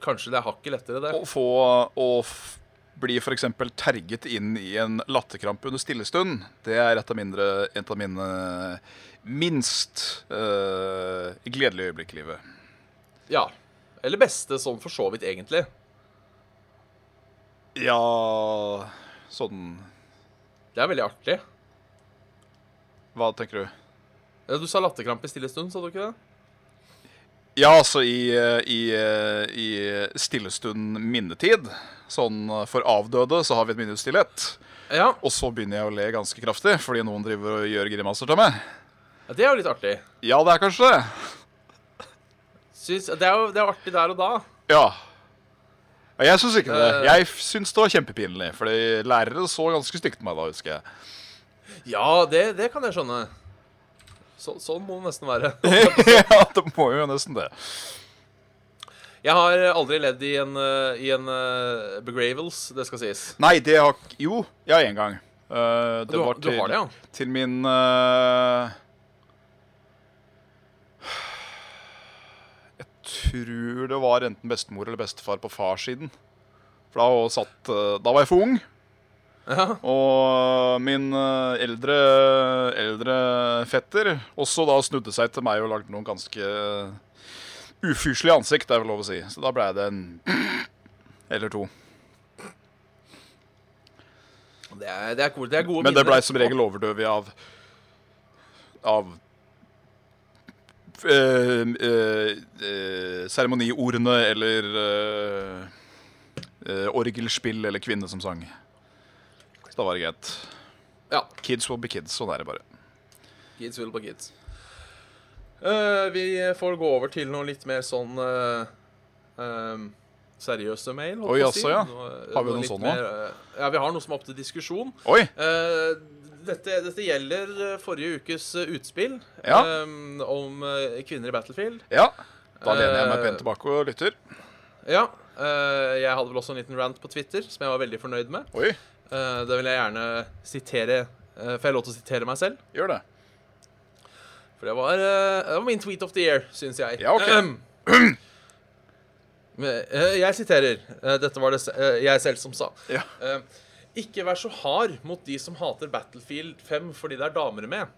S1: kanskje det er hakket lettere, det.
S2: Å få Å f bli f.eks. terget inn i en latterkrampe under stillestund, det er et av, mindre, et av mine minst eh, gledelige øyeblikk i livet.
S1: Ja. Eller beste sånn for så vidt, egentlig.
S2: Ja Sånn
S1: Det er veldig artig.
S2: Hva tenker du?
S1: Ja, Du sa latterkrampe i stille stund, sa du ikke det?
S2: Ja, altså i, eh, i, eh, i stillestund minnetid. Sånn eh, for avdøde så har vi et minutts stillhet.
S1: Ja,
S2: Og så begynner jeg å le ganske kraftig fordi noen driver og gjør grimaser til meg.
S1: ja Det er jo litt artig.
S2: Ja, det er kanskje det.
S1: Syns, det, er jo, det er jo artig der og da.
S2: Ja. Ja, Jeg syns ikke det.
S1: Eh.
S2: Jeg f- syns det var kjempepinlig, fordi lærere så ganske stygt på meg da, husker jeg.
S1: Ja, det, det kan jeg skjønne. Så, sånn må det nesten være.
S2: ja, det må jo nesten det.
S1: Jeg har aldri ledd i en, eh, i en eh, begravels, det skal sies.
S2: Nei, det har k- Jo, ja, én gang. Eh, det
S1: Du,
S2: var
S1: har-
S2: til,
S1: du har det, ja?
S2: til min eh, Jeg tror det var enten bestemor eller bestefar på farssiden. For da, satt, eh, da var jeg for ung.
S1: ja.
S2: Og min eh, eldre, eldre fetter også da snudde seg til meg og lagde noen ganske ufyselige ansikt, det er vel lov å si. Så da blei det en eller to.
S1: Det er, det er, cool. det er gode
S2: Men det
S1: minner.
S2: blei som regel overdøvet av av eh, eh, eh, seremoniordene eller eh, eh, orgelspill eller kvinne som sang. Så da var det greit.
S1: Ja.
S2: Kids will be kids, sånn er det bare.
S1: Kids will be kids. Eh, vi får gå over til noe litt mer sånn eh, ehm, seriøse mail. holdt
S2: Oi,
S1: jeg på å si.
S2: jaså, ja.
S1: Noe-
S2: Har vi sånn noen
S1: litt
S2: sånne
S1: mer, eh, ja, vi har noe som er opp til diskusjon.
S2: Oi!
S1: Eh, dette, dette gjelder eh, forrige ukes eh, utspill
S2: Ja.
S1: ehm, om eh, kvinner i Battlefield.
S2: Ja. Da lener jeg meg
S1: Eh,
S2: pent tilbake og lytter.
S1: Ja. eh, jeg hadde vel også en liten rant på Twitter som jeg var veldig fornøyd med.
S2: Oi,
S1: Eh, det vil jeg gjerne sitere. eh, får jeg lov til å sitere meg selv?
S2: gjør det.
S1: For det var, eh, det var min tweet of the year, syns jeg. Ehm,
S2: Ja, ok.
S1: Men, eh, jeg siterer. eh, Dette var det se- eh, jeg selv som sa.
S2: Ja.
S1: Eh, Ikke vær så hard mot de som hater Battlefield 5 fordi det er damer med.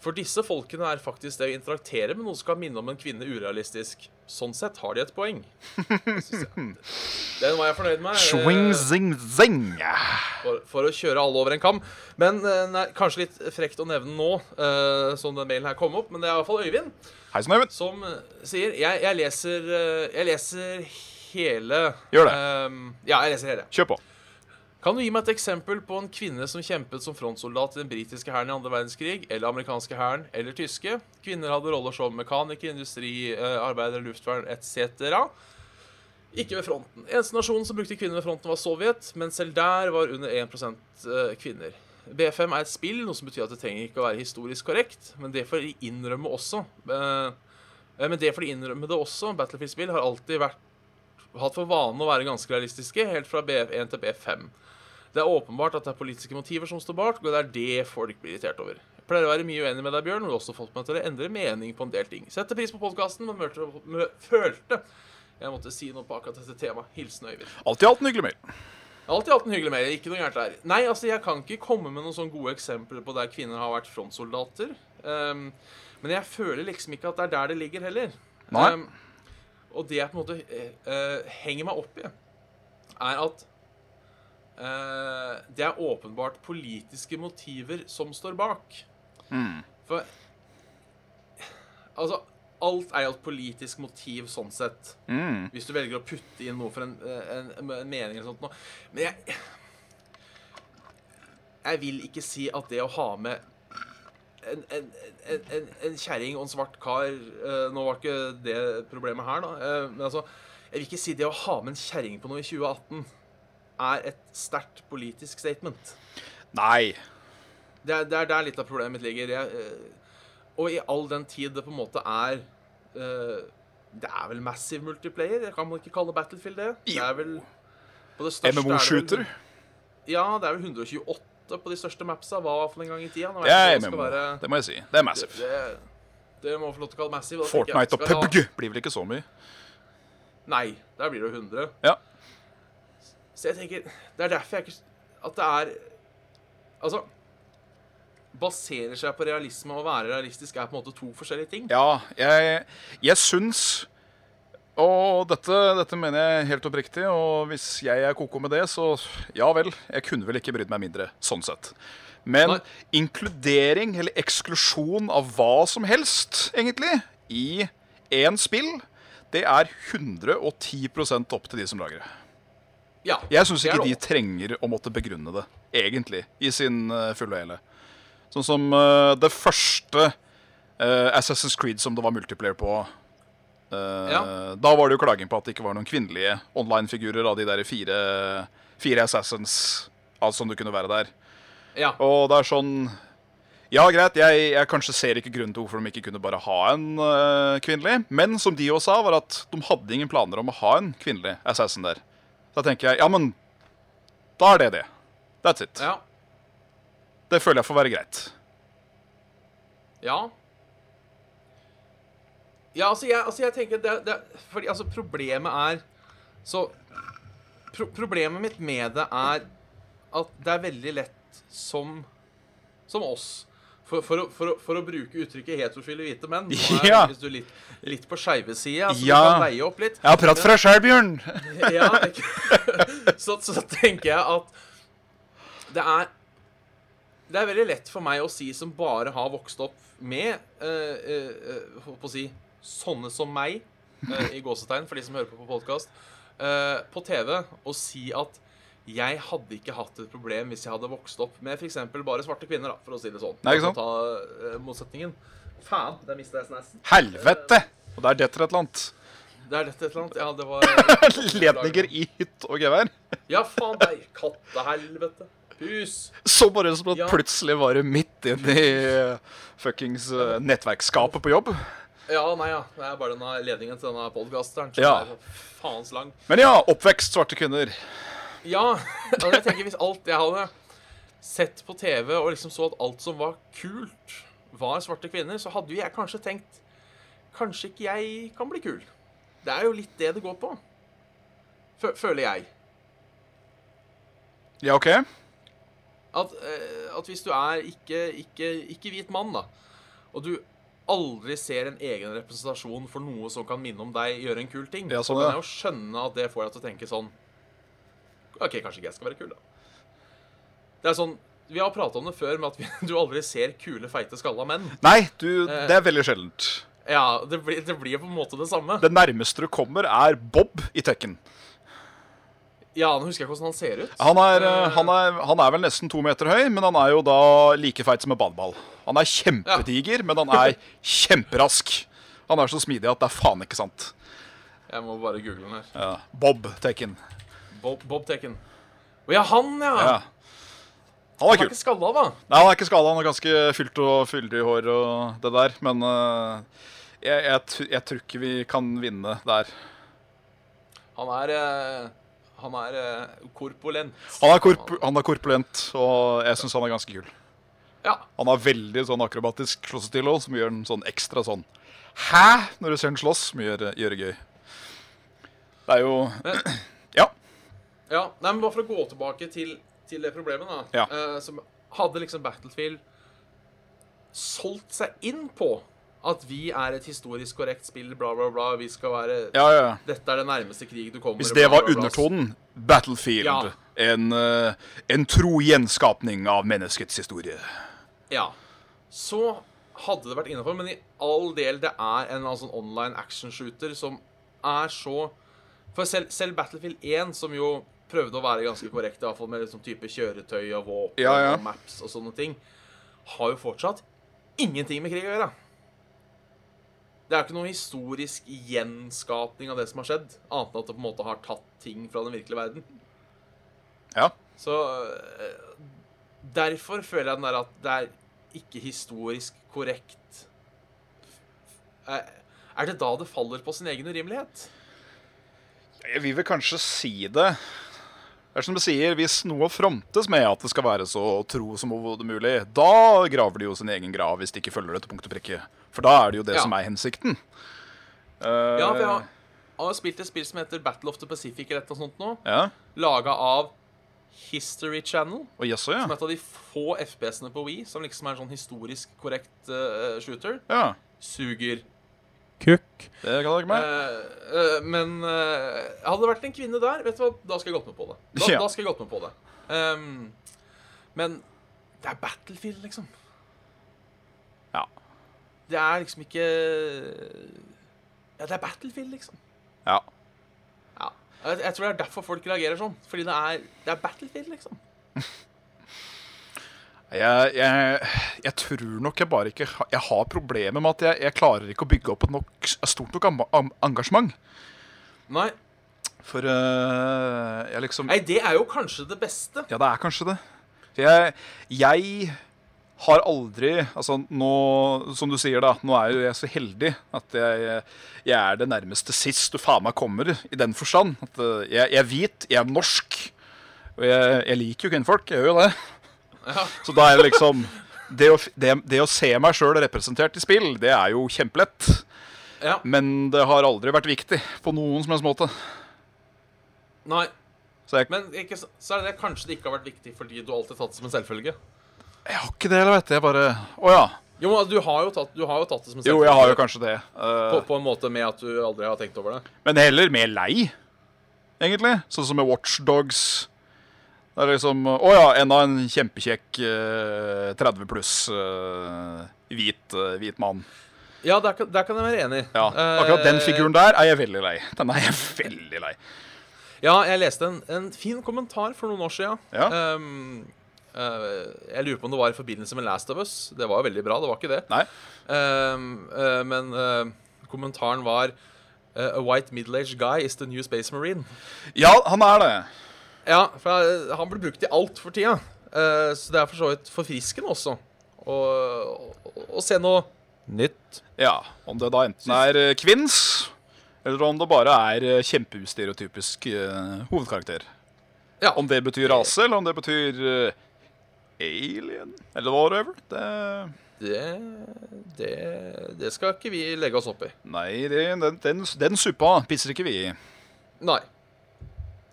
S1: For disse folkene er faktisk det å interaktere med noe som kan minne om en kvinne urealistisk. Sånn sett har de et poeng. Synes jeg. Den var jeg fornøyd med. eh,
S2: Swing, zing, zing.
S1: for, for å kjøre alle over en kam. Men eh, nei, kanskje litt frekt å nevne nå, eh, som den mailen her kom opp, men det er i hvert fall Øyvind
S2: Hei sann, Øyvind.
S1: som eh, sier Jeg, jeg leser eh, Jeg leser hele
S2: Gjør det.
S1: ehm, ja, jeg leser hele.
S2: Kjør på.
S1: Kan du gi meg et eksempel på en kvinne som kjempet som frontsoldat i den britiske hæren i andre verdenskrig, eller amerikanske hæren, eller tyske? Kvinner hadde roller som mekanikere, industriarbeidere, luftvern etc. Ikke ved fronten. Eneste nasjonen som brukte kvinner ved fronten, var Sovjet, men selv der var under 1 eh, kvinner. B5 er et spill, noe som betyr at det trenger ikke å være historisk korrekt, men det får de innrømme også. Eh, eh, Men det får de innrømme det også. Battlefield-spill har alltid vært hatt for vane å være ganske realistiske, helt fra BF1 til BF5. Det er åpenbart at det er politiske motiver som står bak, og det er det folk blir irritert over. Jeg pleier å være mye uenig med deg, Bjørn, og du har også fått meg til å endre mening på en del ting. Setter pris på podkasten, men mørte, mø, følte jeg måtte si noe på akkurat dette temaet. Hilsen Øyvind.
S2: Alt i alt en hyggelig mail.
S1: Alt i alt en hyggelig mail. Ikke noe gærent der. Nei, altså, jeg kan ikke komme med noen sånne gode eksempler på der kvinner har vært frontsoldater. Ehm, men jeg føler liksom ikke at det er der det ligger heller.
S2: Nei.
S1: Ehm, og det jeg på en måte eh, eh, henger meg opp i, er at eh, det er åpenbart politiske motiver som står bak. For Altså, alt er jo et politisk motiv sånn sett.
S2: Mm.
S1: Hvis du velger å putte inn noe for en, en, en mening eller sånt noe. Men jeg Jeg vil ikke si at det å ha med en, en, en, en, en kjerring og en svart kar eh, Nå var ikke det problemet her, da. eh, men altså Jeg vil ikke si det å ha med en kjerring på noe i 2018 er et sterkt politisk statement.
S2: Nei.
S1: Det er, det er der litt av problemet mitt ligger. Jeg, eh, og i all den tid det på en måte er eh, Det er vel massive multiplayer? Det kan man ikke kalle Battlefield det? Det
S2: Jo.
S1: er vel på det største er det vel-
S2: MMO-shooter.
S1: Ja, det er vel 128 på de største mapsa var for en gang i tida. Nå vet
S2: Det
S1: jeg
S2: er
S1: ikke hva det skal
S2: MMO.
S1: være-
S2: Det må jeg si. Det er massive.
S1: Det, det må man få lov til å kalle massive. da tenker jeg
S2: Fortnite og
S1: vi skal ha-
S2: PubG blir vel ikke så mye.
S1: Nei, der blir det jo 100.
S2: Ja.
S1: Så jeg tenker Det er derfor jeg ikke At det er Altså Baserer seg på realisme og å være realistisk er på en måte to forskjellige ting.
S2: Ja, jeg, jeg syns Og dette, dette mener jeg helt oppriktig, og hvis jeg er koko med det, så ja vel. Jeg kunne vel ikke brydd meg mindre, sånn sett. Men
S1: Nei.
S2: inkludering eller eksklusjon av hva som helst, egentlig, i én spill, det er 110 opp til de som lager det.
S1: Ja,
S2: Jeg syns
S1: det er
S2: ikke de
S1: lov.
S2: trenger å måtte begrunne det, egentlig, i sin eh, fulle hele. Sånn som eh, det første eh, Assassin's Creed som det var multiplayer på. eh,
S1: Ja.
S2: Da var det jo klaging på at det ikke var noen kvinnelige online-figurer av de der fire, fire assassins altså, som du kunne være der.
S1: Ja.
S2: Og det er sånn Ja, greit, jeg, jeg kanskje ser ikke grunnen til hvorfor de ikke kunne bare ha en eh, kvinnelig, men som de også sa, var at de hadde ingen planer om å ha en kvinnelig assassin der. Da tenker jeg ja, men da er det det. That's it.
S1: ja.
S2: Det føler jeg får være greit.
S1: Ja. Ja, altså, jeg, altså, jeg tenker det, det, Fordi altså, problemet er Så pro Problemet mitt med det er at det er veldig lett som Som oss. For, for, å, for, å, for å bruke uttrykket 'heterofile hvite menn' Nå er
S2: Ja.
S1: hvis du litt, litt på skeive sida, så du
S2: Ja.
S1: kan veie opp litt.
S2: har prat fra sjæl, Bjørn.
S1: Ja, ikke- så, så tenker jeg at det er Det er veldig lett for meg å si som bare har vokst opp med eh, eh, eh, Holdt på å si sånne som meg, eh, i gåsetegn, for de som hører på på podkast, på TV, å si at jeg hadde ikke hatt et problem hvis jeg hadde vokst opp med f.eks. bare svarte kvinner, da, for å si det sånn.
S2: Nei, ikke sant?
S1: Ta eh, motsetningen. Faen, der mista jeg snassen.
S2: Helvete! Og der detter et eller annet.
S1: Det er lett et eller annet. Ja, det var
S2: Ledninger i hytt og gevær.
S1: Ja, faen deg, kattehelvete. Pus.
S2: Så bare som at
S1: Ja.
S2: plutselig var det midt inn i eh, fuckings eh, nettverksskapet på jobb.
S1: Ja, nei, ja. Det er bare denne ledningen til denne podcasteren. som
S2: Ja.
S1: er så Faens lang.
S2: Men ja, oppvekst, svarte kvinner.
S1: Ja, og jeg tenker hvis alt jeg hadde sett på TV, og liksom så at alt som var kult, var svarte kvinner, så hadde jo jeg kanskje tenkt Kanskje ikke jeg kan bli kul. Det er jo litt det det går på. Fø- Føler jeg.
S2: Ja, OK?
S1: At, eh, at hvis du er ikke, ikke, ikke hvit mann, da, og du aldri ser en egen representasjon for noe som kan minne om deg, gjøre en kul ting,
S2: Ja, sånn,
S1: så kan
S2: ja.
S1: jeg jo skjønne at det får deg til å tenke sånn OK, kanskje ikke jeg skal være kul, da. Det er sånn Vi har prata om det før, med at vi, du aldri ser kule, feite, skalla menn.
S2: Nei, du,
S1: Eh.
S2: det er veldig sjeldent.
S1: Ja, det blir, det blir på en måte det samme.
S2: Det nærmeste du kommer, er Bob i Tekken.
S1: Ja, nå husker jeg ikke hvordan han ser ut.
S2: Han er, eh, han, er, han er vel nesten to meter høy, men han er jo da like feit som en badeball. Han er kjempediger, men han er kjemperask. Han er så smidig at det er faen ikke sant.
S1: Jeg må bare google den her.
S2: Ja. Bob Tekken.
S1: Bob, Bob Tekken. Å ja, han, ja!
S2: Ja. Han er
S1: Han er
S2: kul.
S1: ikke skalla, da.
S2: Nei, han er ikke skada. Han er ganske fylt og fyldig i hår og det der. Men eh, jeg, jeg, tr- jeg tror ikke vi kan vinne der.
S1: Han er eh, Han er eh, korpulent.
S2: Han er, korp han er korpulent, og jeg syns han er ganske kul.
S1: Ja.
S2: Han har veldig sånn akrobatisk slåssestil også, som gjør den sånn ekstra sånn Hæ? Når du ser den slåss, som gjør, gjør det gøy. Det er jo Ja.
S1: ja. Nei, men bare for å gå tilbake til, til det problemet, da.
S2: Ja.
S1: eh, som hadde liksom Battlefield solgt seg inn på at vi er et historisk korrekt spill, bla, bla, bla. Vi skal være
S2: ja, ja, ja.
S1: Dette er det nærmeste krig du kommer.
S2: Hvis det
S1: bla,
S2: var
S1: bla, bla.
S2: undertonen Battlefield.
S1: Ja.
S2: En, eh, en tro gjenskapning av menneskets historie.
S1: Ja. Så hadde det vært innafor, men i all del det er en eller annen sånn online action-shooter som er så For selv, selv Battlefield 1, som jo prøvde å være ganske korrekt, i hvert fall med liksom type kjøretøy og våpen
S2: Ja, ja.
S1: og maps og sånne ting, har jo fortsatt ingenting med krig å gjøre. Det er ikke noe historisk gjenskapning av det som har skjedd, annet enn at det på en måte har tatt ting fra den virkelige verden.
S2: Ja.
S1: Så eh, derfor føler jeg den der at det er ikke historisk korrekt. Er, er er det da det faller på sin egen urimelighet?
S2: Jeg vil vel kanskje si det. Det er som du sier, Hvis noe frontes med at det skal være så tro som overhodet mulig, da graver de jo sin egen grav hvis de ikke følger det til punkt og prikke. For da er det jo det
S1: Ja.
S2: som er hensikten. Eh,
S1: Ja, for jeg har, jeg har spilt et spill som heter Battle of the Pacific eller et eller annet sånt nå.
S2: Ja,
S1: Laga av History Channel.
S2: Og jaså,
S1: Som
S2: ja.
S1: er et av de få FPS-ene på Wii som liksom er en sånn historisk korrekt eh, shooter.
S2: ja.
S1: Suger.
S4: Kukk.
S2: Det kan dere meg.
S1: Eh, eh, men eh, hadde det vært en kvinne der, vet du hva, da skal jeg gått med på det. Da,
S2: Ja.
S1: da skal jeg gått med på det. Ehm, men det er Battlefield, liksom.
S2: Ja.
S1: Det er liksom ikke Ja, det er Battlefield, liksom.
S2: Ja.
S1: Ja. Jeg, jeg tror det er derfor folk reagerer sånn. Fordi det er, det er Battlefield, liksom.
S2: Jeg, jeg, jeg tror nok jeg bare ikke ha- Jeg har problemer med at jeg, jeg klarer ikke å bygge opp et nok, et stort nok am- am- engasjement.
S1: Nei,
S2: For eh, jeg liksom
S1: nei, det er jo kanskje det beste.
S2: Ja, det er kanskje det. For jeg, jeg har aldri Altså, nå, som du sier, da, nå er jo jeg så heldig at jeg, jeg er det nærmeste sist du faen meg kommer, i den forstand. At eh, jeg, jeg er hvit, jeg er norsk. Og jeg, jeg liker jo kvinnfolk, jeg gjør jo det.
S1: Ja.
S2: Så da er det liksom Det å, f- det, det å se meg sjøl representert i spill, det er jo kjempelett.
S1: Ja.
S2: Men det har aldri vært viktig på noen som helst måte.
S1: Nei.
S2: Så jeg,
S1: Men ikke, s- så er det kanskje det ikke har vært viktig fordi du alltid har tatt det som en selvfølge.
S2: jeg har ikke det, eller vet du. Jeg bare Å ja.
S1: Jo, men du har jo tatt, du har jo tatt det som en
S2: Jo,
S1: selvfølge.
S2: jeg har jo kanskje det. Eh,
S1: på, på en måte med at du aldri har tenkt over det.
S2: Men heller mer lei, egentlig. Sånn som med Watchdogs. Det er liksom Å ja, enda en kjempekjekk eh, 30 pluss eh, hvit, eh, hvit mann.
S1: Ja, der, kan- der kan jeg være enig.
S2: Ja,
S1: Eh,
S2: Akkurat den figuren der er jeg veldig lei. Den er jeg veldig lei.
S1: Ja, jeg leste en, en fin kommentar for noen år siden.
S2: Ja.
S1: Ehm, eh, jeg lurer på om det var i forbindelse med Last of Us. Det var jo veldig bra, det var ikke det.
S2: Nei.
S1: Ehm, eh, men eh, kommentaren var eh, A white middle-aged guy is the new space marine.
S2: Ja, han er det.
S1: Ja, for eh, han blir brukt i alt for tida. Eh, så det er for så vidt forfriskende også å å- å se noe nytt.
S2: Ja, Om det da enten er eh, kvinns, eller om det bare er eh, kjempeustereotypisk eh, hovedkarakter.
S1: Ja.
S2: Om det betyr rase, eller om det betyr eh, alien, eller whatever. Det
S1: Det, det, det skal ikke vi legge oss opp i.
S2: Nei, det, den, den, den suppa pisser ikke vi i.
S1: Nei.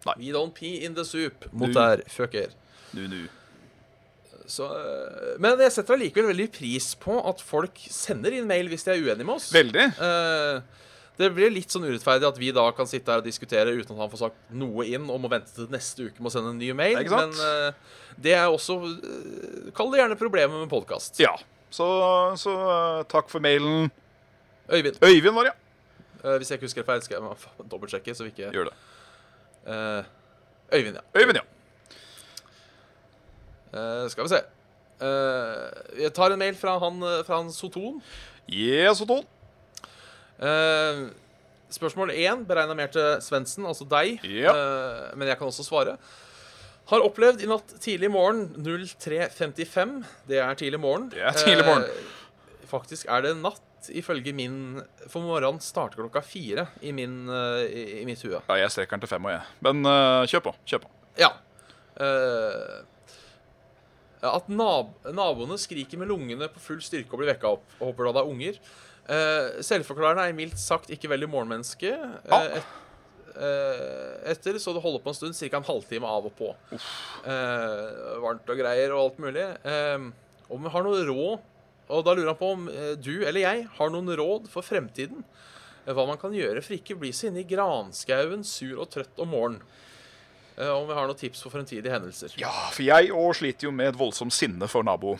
S2: Nei.
S1: We don't pee in the soup. Mot
S2: Du-
S1: der, fucker.
S2: Nu, nu.
S1: Så, øh, men jeg setter allikevel veldig pris på at folk sender inn mail hvis de er uenige med oss.
S2: Veldig.
S1: Eh, det blir litt sånn urettferdig at vi da kan sitte her og diskutere uten at han får sagt noe inn og må vente til neste uke med å sende en ny mail.
S2: Ikke sant?
S1: Men eh, det er også øh, Kall det gjerne problemet med podkast.
S2: Ja. Så, så eh, takk for mailen.
S1: Øyvind,
S2: Øyvind var det, ja.
S1: eh, hvis jeg ikke husker feil, skal jeg faen, dobbeltsjekke. så vi ikke...
S2: Gjør det.
S1: Eh, Øyvind, ja.
S2: Øyvind, ja.
S1: Eh, skal vi se. Eh, jeg tar en mail fra han, eh, fra han Soton.
S2: Yes, Otto.
S1: Eh, spørsmål én beregna mer til Svendsen, altså deg.
S2: Ja.
S1: Eh, men jeg kan også svare. Har opplevd i natt tidlig morgen 03.55. Det er tidlig morgen.
S2: Det er tidlig morgen.
S1: Eh, faktisk er det natt, ifølge min For morgenen starter klokka fire i, min, eh, i, i mitt hue.
S2: Ja, jeg strekker den til fem, og jeg. Men eh, kjør på. Kjør på.
S1: Ja. Eh, at nab naboene skriker med lungene på full styrke og blir vekka opp. Og håper da det er unger. Eh, selvforklarende er jeg mildt sagt ikke veldig morgenmenneske. Eh,
S2: Ah.
S1: et, eh, etter så det holder på en stund, ca. en halvtime av og på. Eh, varmt og greier og alt mulig. Eh, om vi har noe råd Og da lurer han på om eh, du eller jeg har noen råd for fremtiden. Eh, Hva man kan gjøre for ikke å bli så inne i granskauen, sur og trøtt om morgenen. Eh, om vi har noen tips for fremtidige hendelser.
S2: Ja, for jeg òg sliter jo med et voldsomt sinne for nabo.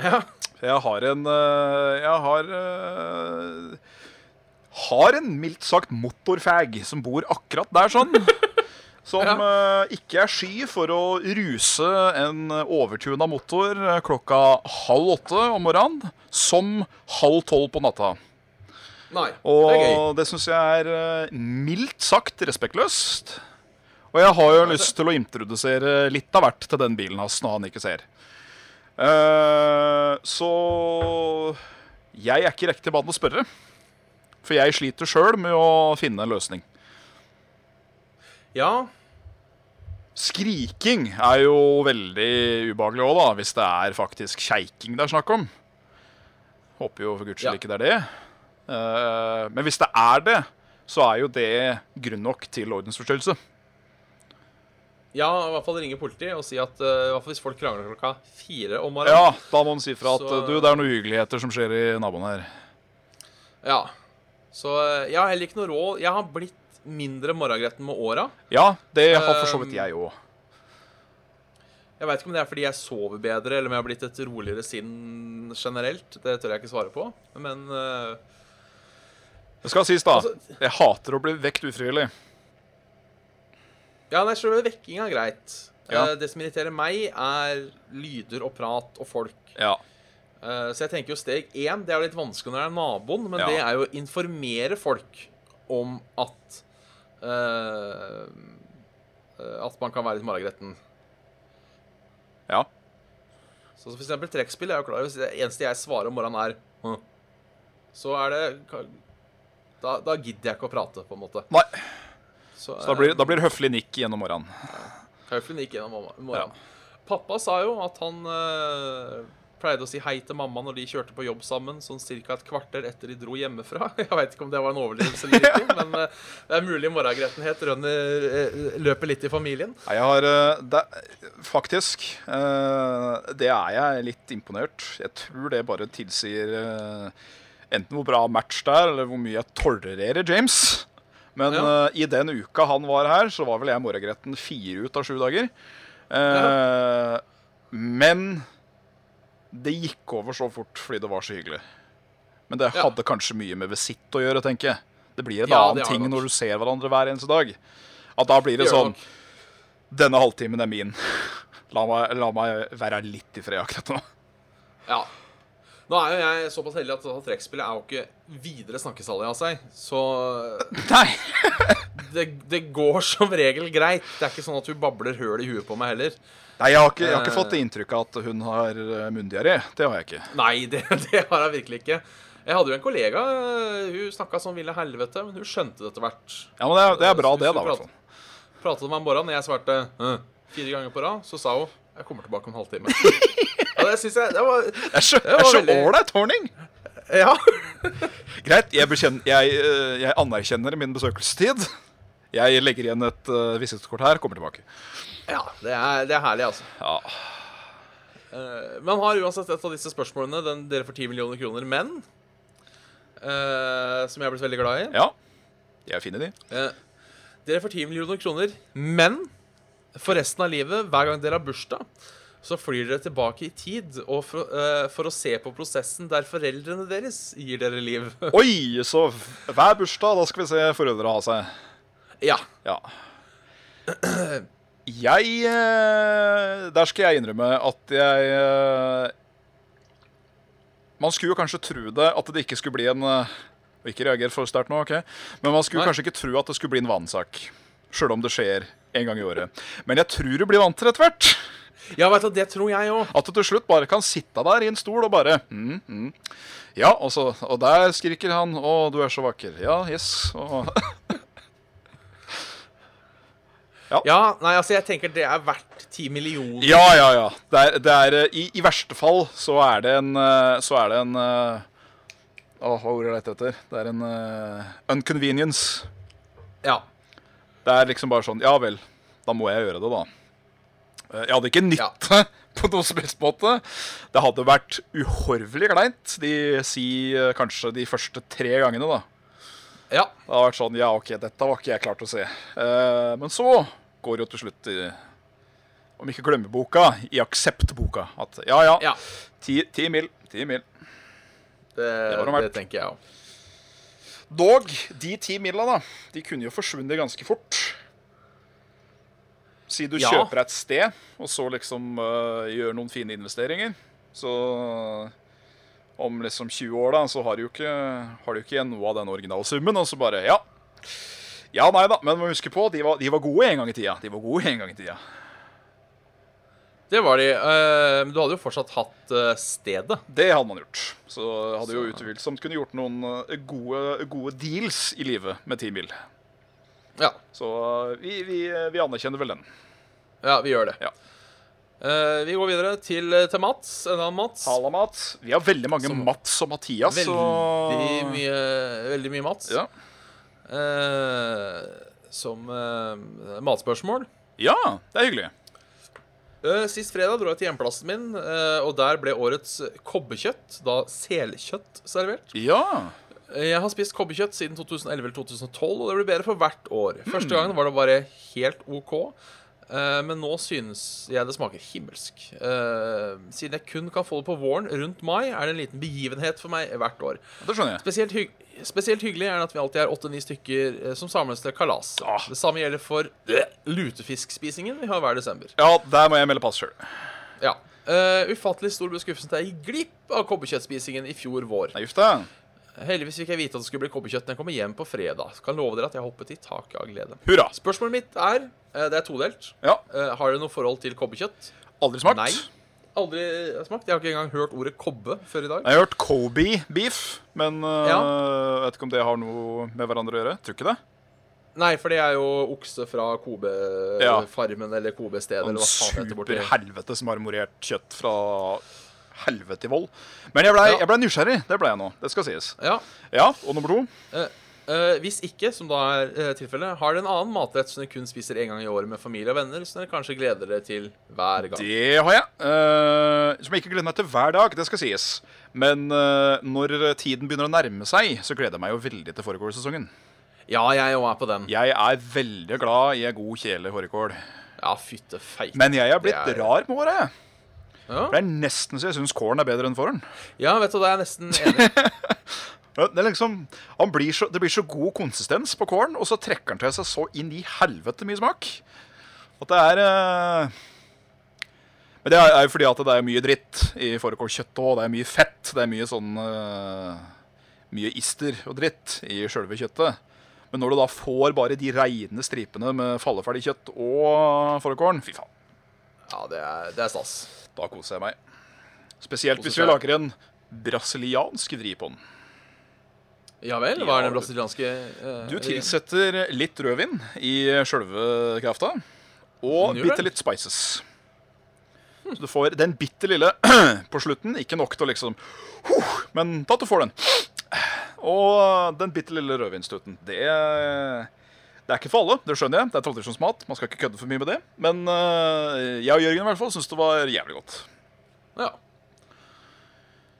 S1: Ja.
S2: Jeg har en eh, Jeg har eh, Har en mildt sagt motorfag som bor akkurat der, sånn. Som eh, ikke er sky for å ruse en overtuna motor eh, klokka halv åtte om morgenen som halv tolv på natta.
S1: Nei,
S2: Og
S1: det er gøy.
S2: det, synes syns jeg er eh, mildt sagt respektløst. Og jeg har jo lyst til å introdusere litt av hvert til den bilen hans når han ikke ser. Eh, så jeg er ikke riktig mann å spørre. For jeg sliter sjøl med å finne en løsning.
S1: Ja,
S2: Skriking er jo veldig ubehagelig òg, da, hvis det er faktisk sjeiking det er snakk om. Håper jo for guds skyld
S1: Ja.
S2: ikke det er det. Eh, men hvis det er det, så er jo det grunn nok til ordensforstyrrelse.
S1: ja, i hvert fall ringe politiet og si at eh, i hvert fall hvis folk krangler klokka fire om morgenen
S2: Ja, da må man si fra at
S1: Så-
S2: du, det er noen hyggeligheter som skjer i naboen her.
S1: Ja. Så eh, jeg har heller ikke noe råd. Jeg har blitt mindre morgengretten med åra.
S2: Ja, det har for så
S1: Um,
S2: vidt jeg òg.
S1: Jeg veit ikke om det er fordi jeg sover bedre, eller om jeg har blitt et roligere sinn generelt. Det tør jeg ikke svare på. Men eh,
S2: Det skal sies, da.
S1: altså-
S2: Jeg hater å bli vekt ufrivillig.
S1: Ja, nei, selve vekkinga er greit.
S2: Ja.
S1: Eh, det som irriterer meg, er lyder og prat og folk.
S2: Ja.
S1: Eh, så jeg tenker jo steg én Det er jo litt vanskelig når det er naboen, men
S2: Ja.
S1: det er jo å informere folk om at eh, eh, At man kan være litt maragretten.
S2: ja.
S1: Så for eksempel trekkspill er jo klar Hvis det eneste jeg svarer om morgenen, er «Hm», Så er det da, da gidder jeg ikke å prate, på en måte.
S2: Nei.
S1: Så,
S2: Så da blir, da blir det høflig nikk gjennom morgenen.
S1: Kauflund gikk gjennom morgen- morgenen. Pappa sa jo at han eh, pleide å si hei til mamma når de kjørte på jobb sammen, sånn ca. et kvarter etter de dro hjemmefra. Jeg veit ikke om det var en overdrivelse eller ikke, men eh, det er mulig morgengrettenhet rønner, eh, løper litt i familien.
S2: Nei, jeg har eh, det, Faktisk, eh, det er jeg litt imponert. Jeg tror det bare tilsier eh, enten hvor bra match det er, eller hvor mye jeg tolererer James. Men
S1: Ja.
S2: eh, i den uka han var her, så var vel jeg morgengretten fire ut av sju dager. Eh, Men det gikk over så fort fordi det var så hyggelig. Men det
S1: Ja.
S2: hadde kanskje mye med visitt å gjøre, tenker jeg. Det blir en
S1: Ja, det
S2: annen
S1: har det
S2: ting
S1: nok.
S2: når du ser hverandre hver eneste dag. At da blir det
S1: Gjør
S2: sånn
S1: nok.
S2: denne halvtimen er min. La meg, la meg være litt i fred akkurat nå.
S1: Ja. Nå er jo jeg såpass heldig at dette trekkspillet er jo ikke videre snakkesalig av seg, så eh,
S2: Nei!
S1: det, det går som regel greit. Det er ikke sånn at hun babler høl i huet på meg heller.
S2: Nei, jeg har ikke, jeg har ikke
S1: Eh.
S2: fått det inntrykket at hun har eh, munndiaré. Det har jeg ikke.
S1: Nei, det, det har jeg virkelig ikke. Jeg hadde jo en kollega, øh, hun snakka som ville helvete, men hun skjønte det etter hvert.
S2: Ja, men Det er, det er bra,
S1: Så hvis
S2: det, da.
S1: du
S2: i hvert
S1: prater-
S2: fall.
S1: Pratet med meg om morgenen, og jeg svarte «Hm», fire ganger på rad, så sa hun 'Jeg kommer tilbake om en halvtime'. Ja, det synes jeg det var,
S2: Det er så det
S1: var
S2: er så
S1: veldig-
S2: ålreit horning!
S1: Ja.
S2: Greit, jeg, bekjenn- jeg, eh, jeg anerkjenner min besøkelsestid. Jeg legger igjen et uh, visittkort her, kommer tilbake.
S1: ja det, er, det er herlig, altså.
S2: Ja.
S1: Eh, Men har uansett et av disse spørsmålene, den dere får 10 millioner kroner, men eh, Som jeg har blitt veldig glad i.
S2: ja. Jeg finner de.
S1: Eh, dere får 10 millioner kroner, men for resten av livet, hver gang dere har bursdag, så flyr dere tilbake i tid og for, eh, for å se på prosessen der foreldrene deres gir dere liv.
S2: Oi, så hver bursdag, da skal vi se foreldra ha seg.
S1: ja.
S2: Ja. Jeg eh, Der skal jeg innrømme at jeg eh, Man skulle jo kanskje tro det at det ikke skulle bli en eh, og Ikke reager for sterkt nå, OK? Men man skulle
S1: Nei.
S2: kanskje ikke tro at det skulle bli en vanesak. Sjøl om det skjer en gang i året. Men jeg tror du blir vant til det etter hvert.
S1: ja, vet du, det tror jeg òg.
S2: At du til slutt bare kan sitte der i en stol og bare mm, mm. Ja, og, så, og der skriker han 'Å, du er så vakker'. Ja, yes. Og,
S1: Ja, nei, altså, jeg tenker det er verdt 10 millioner.
S2: Ja, ja, ja. Det er, det er, eh, i, I verste fall så er det en eh, Så er det en eh, Åh, hva ordet er jeg etter? Det er en eh, unconvenience.
S1: Ja.
S2: Det er liksom bare sånn Ja vel, da må jeg gjøre det, da. Eh, Jeg hadde ikke nytte på noen som helst måte. Det hadde vært uhorvelig kleint de si eh, kanskje de første tre gangene, da.
S1: ja.
S2: Det hadde vært sånn Ja, OK, dette var ikke jeg klar til å se. Eh, men så går det jo til slutt i om ikke glemmeboka, i akseptboka. At ja, ja,
S1: ja.
S2: Ti, ti mil. Ti mil.
S1: Det,
S2: var noe
S1: det,
S2: verdt.
S1: tenker jeg òg.
S2: Dog, de ti mila, da, de kunne jo forsvunnet ganske fort. Si du
S1: Ja.
S2: kjøper et sted, og så liksom øh, gjør noen fine investeringer. Så om liksom 20 år, da, så har du jo ikke, har du ikke igjen noe av den originale summen. Og så bare Ja. Ja, nei da, men må huske på, de var, de var gode en gang i tida. De var gode en gang i tida.
S1: Det var de. eh, Men du hadde jo fortsatt hatt eh, stedet.
S2: Det hadde man gjort. Så hadde jo utvilsomt kunne gjort noen eh, gode, gode deals i livet med 10 mil.
S1: Ja,
S2: Så eh, vi, vi, eh, vi anerkjenner vel den.
S1: ja vi gjør det.
S2: Ja.
S1: Eh, vi går videre til, eh, til Mats. Enda en Mats.
S2: Halla, Mats. Vi har veldig mange
S1: Som-
S2: Mats og Mathias.
S1: Veldig
S2: og-
S1: mye, veldig mye Mats.
S2: Ja.
S1: Eh, som eh, matspørsmål.
S2: ja, det er hyggelig.
S1: Eh, sist fredag dro jeg til hjemplassen min, eh, og der ble årets kobbekjøtt, da selkjøtt, servert.
S2: Ja.
S1: Eh, Jeg har spist kobbekjøtt siden 2011 eller 2012, og det blir bedre for hvert år. Første gangen var det bare helt OK, eh, men nå synes jeg det smaker himmelsk. Eh, Siden jeg kun kan få det på våren, rundt mai, er det en liten begivenhet for meg hvert år.
S2: Det skjønner jeg.
S1: Spesielt, hygg spesielt hyggelig er det at vi alltid er åtte-ni stykker eh, som samles til kalas.
S2: Ah.
S1: Det samme gjelder for øh, lutefiskspisingen vi har hver desember.
S2: Ja, der må jeg melde pass sjøl.
S1: Ja. Eh, ufattelig stor ble skuffelsen da jeg gikk glipp av kobberkjøttspisingen i fjor vår.
S2: Nei, uff da.
S1: Heldigvis fikk jeg vite at det skulle bli kobberkjøtt når jeg kommer hjem på fredag. Kan love dere at jeg hoppet i taket av glede.
S2: Hurra.
S1: Spørsmålet mitt er eh, Det er todelt.
S2: Ja,
S1: Eh, har dere noe forhold til kobberkjøtt?
S2: aldri smakt.
S1: Nei. Aldri smakt. Jeg har ikke engang hørt ordet kobbe før i dag.
S2: Jeg har hørt Kobe beef, men øh, vet ikke om det har noe med hverandre å gjøre. Tror ikke det.
S1: Nei, for det er jo okse fra
S2: Ja.
S1: Kobe-farmen eller Kobe-stedet.
S2: En
S1: Eller hva faen det heter borti
S2: superhelvetes marmorert kjøtt fra helvete i vold. Men jeg blei
S1: Ja.
S2: jeg blei nysgjerrig. Det blei jeg nå. Det skal sies.
S1: Ja.
S2: Ja, og nummer to.
S1: eh, hvis ikke, som da er eh, tilfellet, har dere en annen matrett som dere kun spiser én gang i året med familie og venner, som dere kanskje gleder dere til hver gang?
S2: Det har jeg. eh, som jeg ikke gleder meg til hver dag. Det skal sies. Men eh, når tiden begynner å nærme seg, så gleder jeg meg jo veldig til fårikålsesongen.
S1: Ja, jeg òg er på den.
S2: Jeg er veldig glad i en god kjele fårikål.
S1: Ja, fytte feite.
S2: Men jeg er blitt
S1: Det er-
S2: rar med året. jeg.
S1: Ja.
S2: Det er nesten så jeg syns kålen er bedre enn fåren.
S1: ja, vet du, da er jeg nesten enig.
S2: Ja, Det, er liksom, han blir så, det blir så god konsistens på kålen, og så trekker han til seg så inn i helvete mye smak. At det er eh, Men det er er jo fordi at det er mye dritt i fårikålkjøttet òg. Det er mye fett. Det er mye sånn eh, Mye ister og dritt i sjølve kjøttet. Men når du da får bare de reine stripene med falleferdig kjøtt og fårikålen, fy faen,
S1: Ja, det er, det er stas.
S2: da koser jeg meg. Spesielt hvis
S1: Koser
S2: vi
S1: seg.
S2: lager en brasiliansk vri på den.
S1: Ja vel? Hva er
S2: Ja,
S1: den
S2: du-
S1: brasilianske eh,
S2: Du tilsetter litt rødvin i sjølve krafta, og
S1: Den gjør
S2: bitte
S1: Mm, det.
S2: litt spices. Så du får den bitte lille på slutten, ikke nok til å liksom huh, Men da du får den. Og den bitte lille rødvinstuten. Det, det er ikke for alle, det skjønner jeg. Det er tradisjonsmat, man skal ikke kødde for mye med det. Men eh, jeg og Jørgen i hvert fall syns det var jævlig godt.
S1: Ja.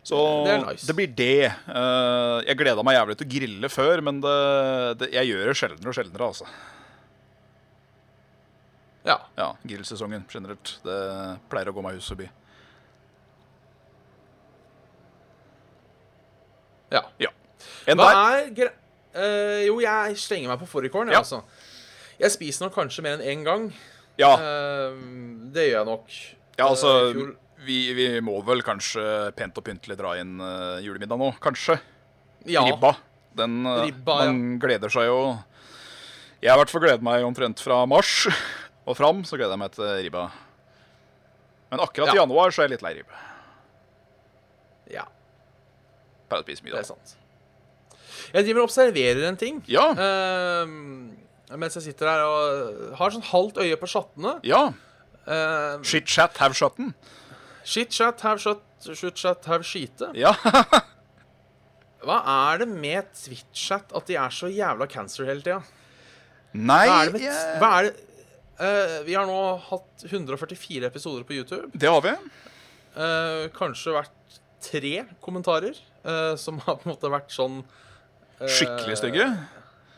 S2: Så
S1: Det
S2: det,
S1: er nice.
S2: blir det. Eh, jeg gleda meg jævlig til å grille før, men det, det, jeg gjør det sjeldnere og sjeldnere, altså.
S1: ja.
S2: Ja, grillsesongen generelt. Det pleier å gå meg hus forbi.
S1: Ja.
S2: Ja. Enn
S1: Hva
S2: der?
S1: er gre... Eh, jo, jeg slenger meg på fårikålen, jeg,
S2: Ja.
S1: altså. Jeg spiser nok kanskje mer enn én gang.
S2: Ja,
S1: Eh, det gjør jeg nok.
S2: ja
S1: Eh, i
S2: altså
S1: fjor-
S2: vi, vi må vel kanskje pent og pyntelig dra inn eh, julemiddag nå, kanskje?
S1: ja.
S2: Ribba. Den, eh,
S1: Ribba, ja.
S2: man gleder seg jo Jeg har i hvert fall gledet meg omtrent fra mars og fram, så gleder jeg meg til ribba. Men akkurat i
S1: Ja.
S2: januar så er jeg litt lei ribbe.
S1: Ja,
S2: Pleier å spise mye
S1: det er
S2: da.
S1: sant. Jeg driver og observerer en ting.
S2: Ja.
S1: eh, mens jeg sitter her og har sånn halvt øye på sjattene.
S2: ja.
S1: Eh,
S2: Shit, chat, have shotten.
S1: shit, chat, have shot, shoot, chat, have skite.
S2: Ja.
S1: Hva er det med Twitch-chat at de er så jævla cancer hele tida?
S2: Nei
S1: Hva er det med
S2: jeg-
S1: hva er det, Eh, Vi har nå hatt 144 episoder på YouTube.
S2: Det har vi.
S1: Eh, kanskje vært tre kommentarer eh, som har på en måte vært sånn eh,
S2: Skikkelig stygge.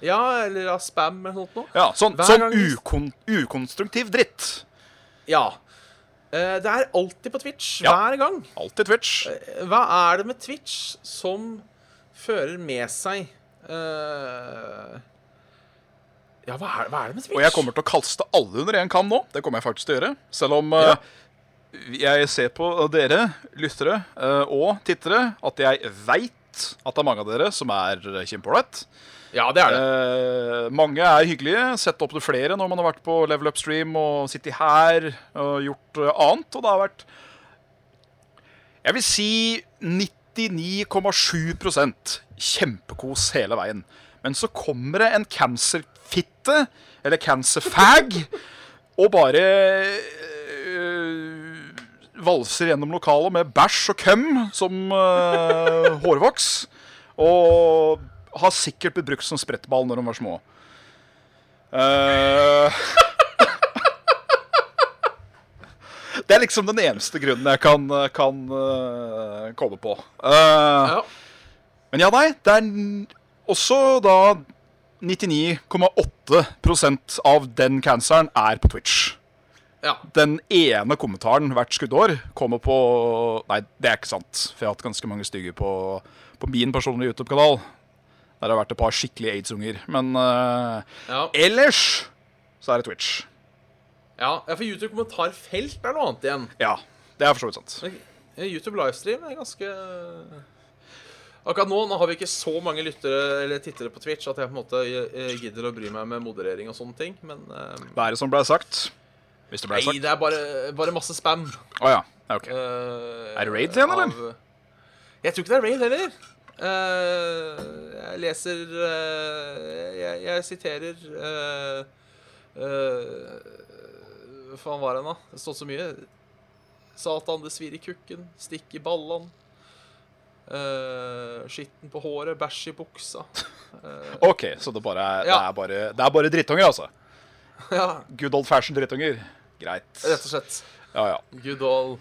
S1: Ja, eller av spam eller noe sånt noe.
S2: Ja, sånn,
S1: Hver
S2: sånn
S1: gang vi-
S2: ukon ukonstruktiv dritt.
S1: Ja. Eh, Det er alltid på Twitch,
S2: Ja.
S1: hver gang.
S2: Alltid
S1: Eh,
S2: Twitch.
S1: Hva er det med Twitch som fører med seg eh, Ja, hva er, hva er det med Twitch?
S2: Og jeg kommer til å kaste alle under én kam nå. Det kommer jeg faktisk til å gjøre. Selv om
S1: Ja.
S2: eh, jeg ser på dere lyttere eh, og tittere at jeg veit vet at det er mange av dere som er kjempeålreit.
S1: Ja, det er det.
S2: Eh, mange er hyggelige. Sett opp til flere når man har vært på Level Up Stream og sittet her og gjort eh, annet. Og det har vært Jeg vil si 99,7 kjempekos hele veien. Men så kommer det en cancerfitte, eller cancerfag, og bare eh, valser gjennom lokalet med bæsj og køm som eh, hårvoks. Og har sikkert blitt brukt som sprettball når de var små. Eh, det er liksom den eneste grunnen jeg kan, kan eh, komme på. Eh,
S1: Ja.
S2: men ja, nei, det er n- også da 99,8 av den canceren er på Twitch.
S1: ja.
S2: Den ene kommentaren hvert skuddår kommer på Nei, det er ikke sant, for jeg har hatt ganske mange stygge på, på min personlige YouTube-kanal. Der har det vært et par skikkelige aids-unger. Men eh,
S1: ja.
S2: ellers så er det Twitch.
S1: Ja, ja, for YouTube kommentarfelt er noe annet igjen.
S2: Ja, det er for så vidt sant.
S1: Men, eh, YouTube livestream er ganske Akkurat nå, nå har vi ikke så mange lyttere eller tittere på Twitch at jeg på en måte eh, gidder å bry meg med moderering og sånne ting, men eh,
S2: Hva er det som ble sagt? Hvis det ble
S1: Nei,
S2: sagt.
S1: det er bare, bare masse spam.
S2: Å ja. ja. ok.
S1: Eh,
S2: Er det Raid igjen, eller?
S1: av- Jeg tror ikke det er Raid heller. Eh, jeg leser eh, jeg, jeg siterer eh, eh, Hva faen var det nå? Det stod så mye. Satan, det svir i kukken. Stikk i ballene. eh, skitten på håret, bæsj i buksa.
S2: OK, så det, bare er, det,
S1: Ja.
S2: er bare, det er bare drittunger, altså?
S1: ja,
S2: Good old fashion drittunger. Greit.
S1: rett og slett.
S2: Ja, ja.
S1: Good old,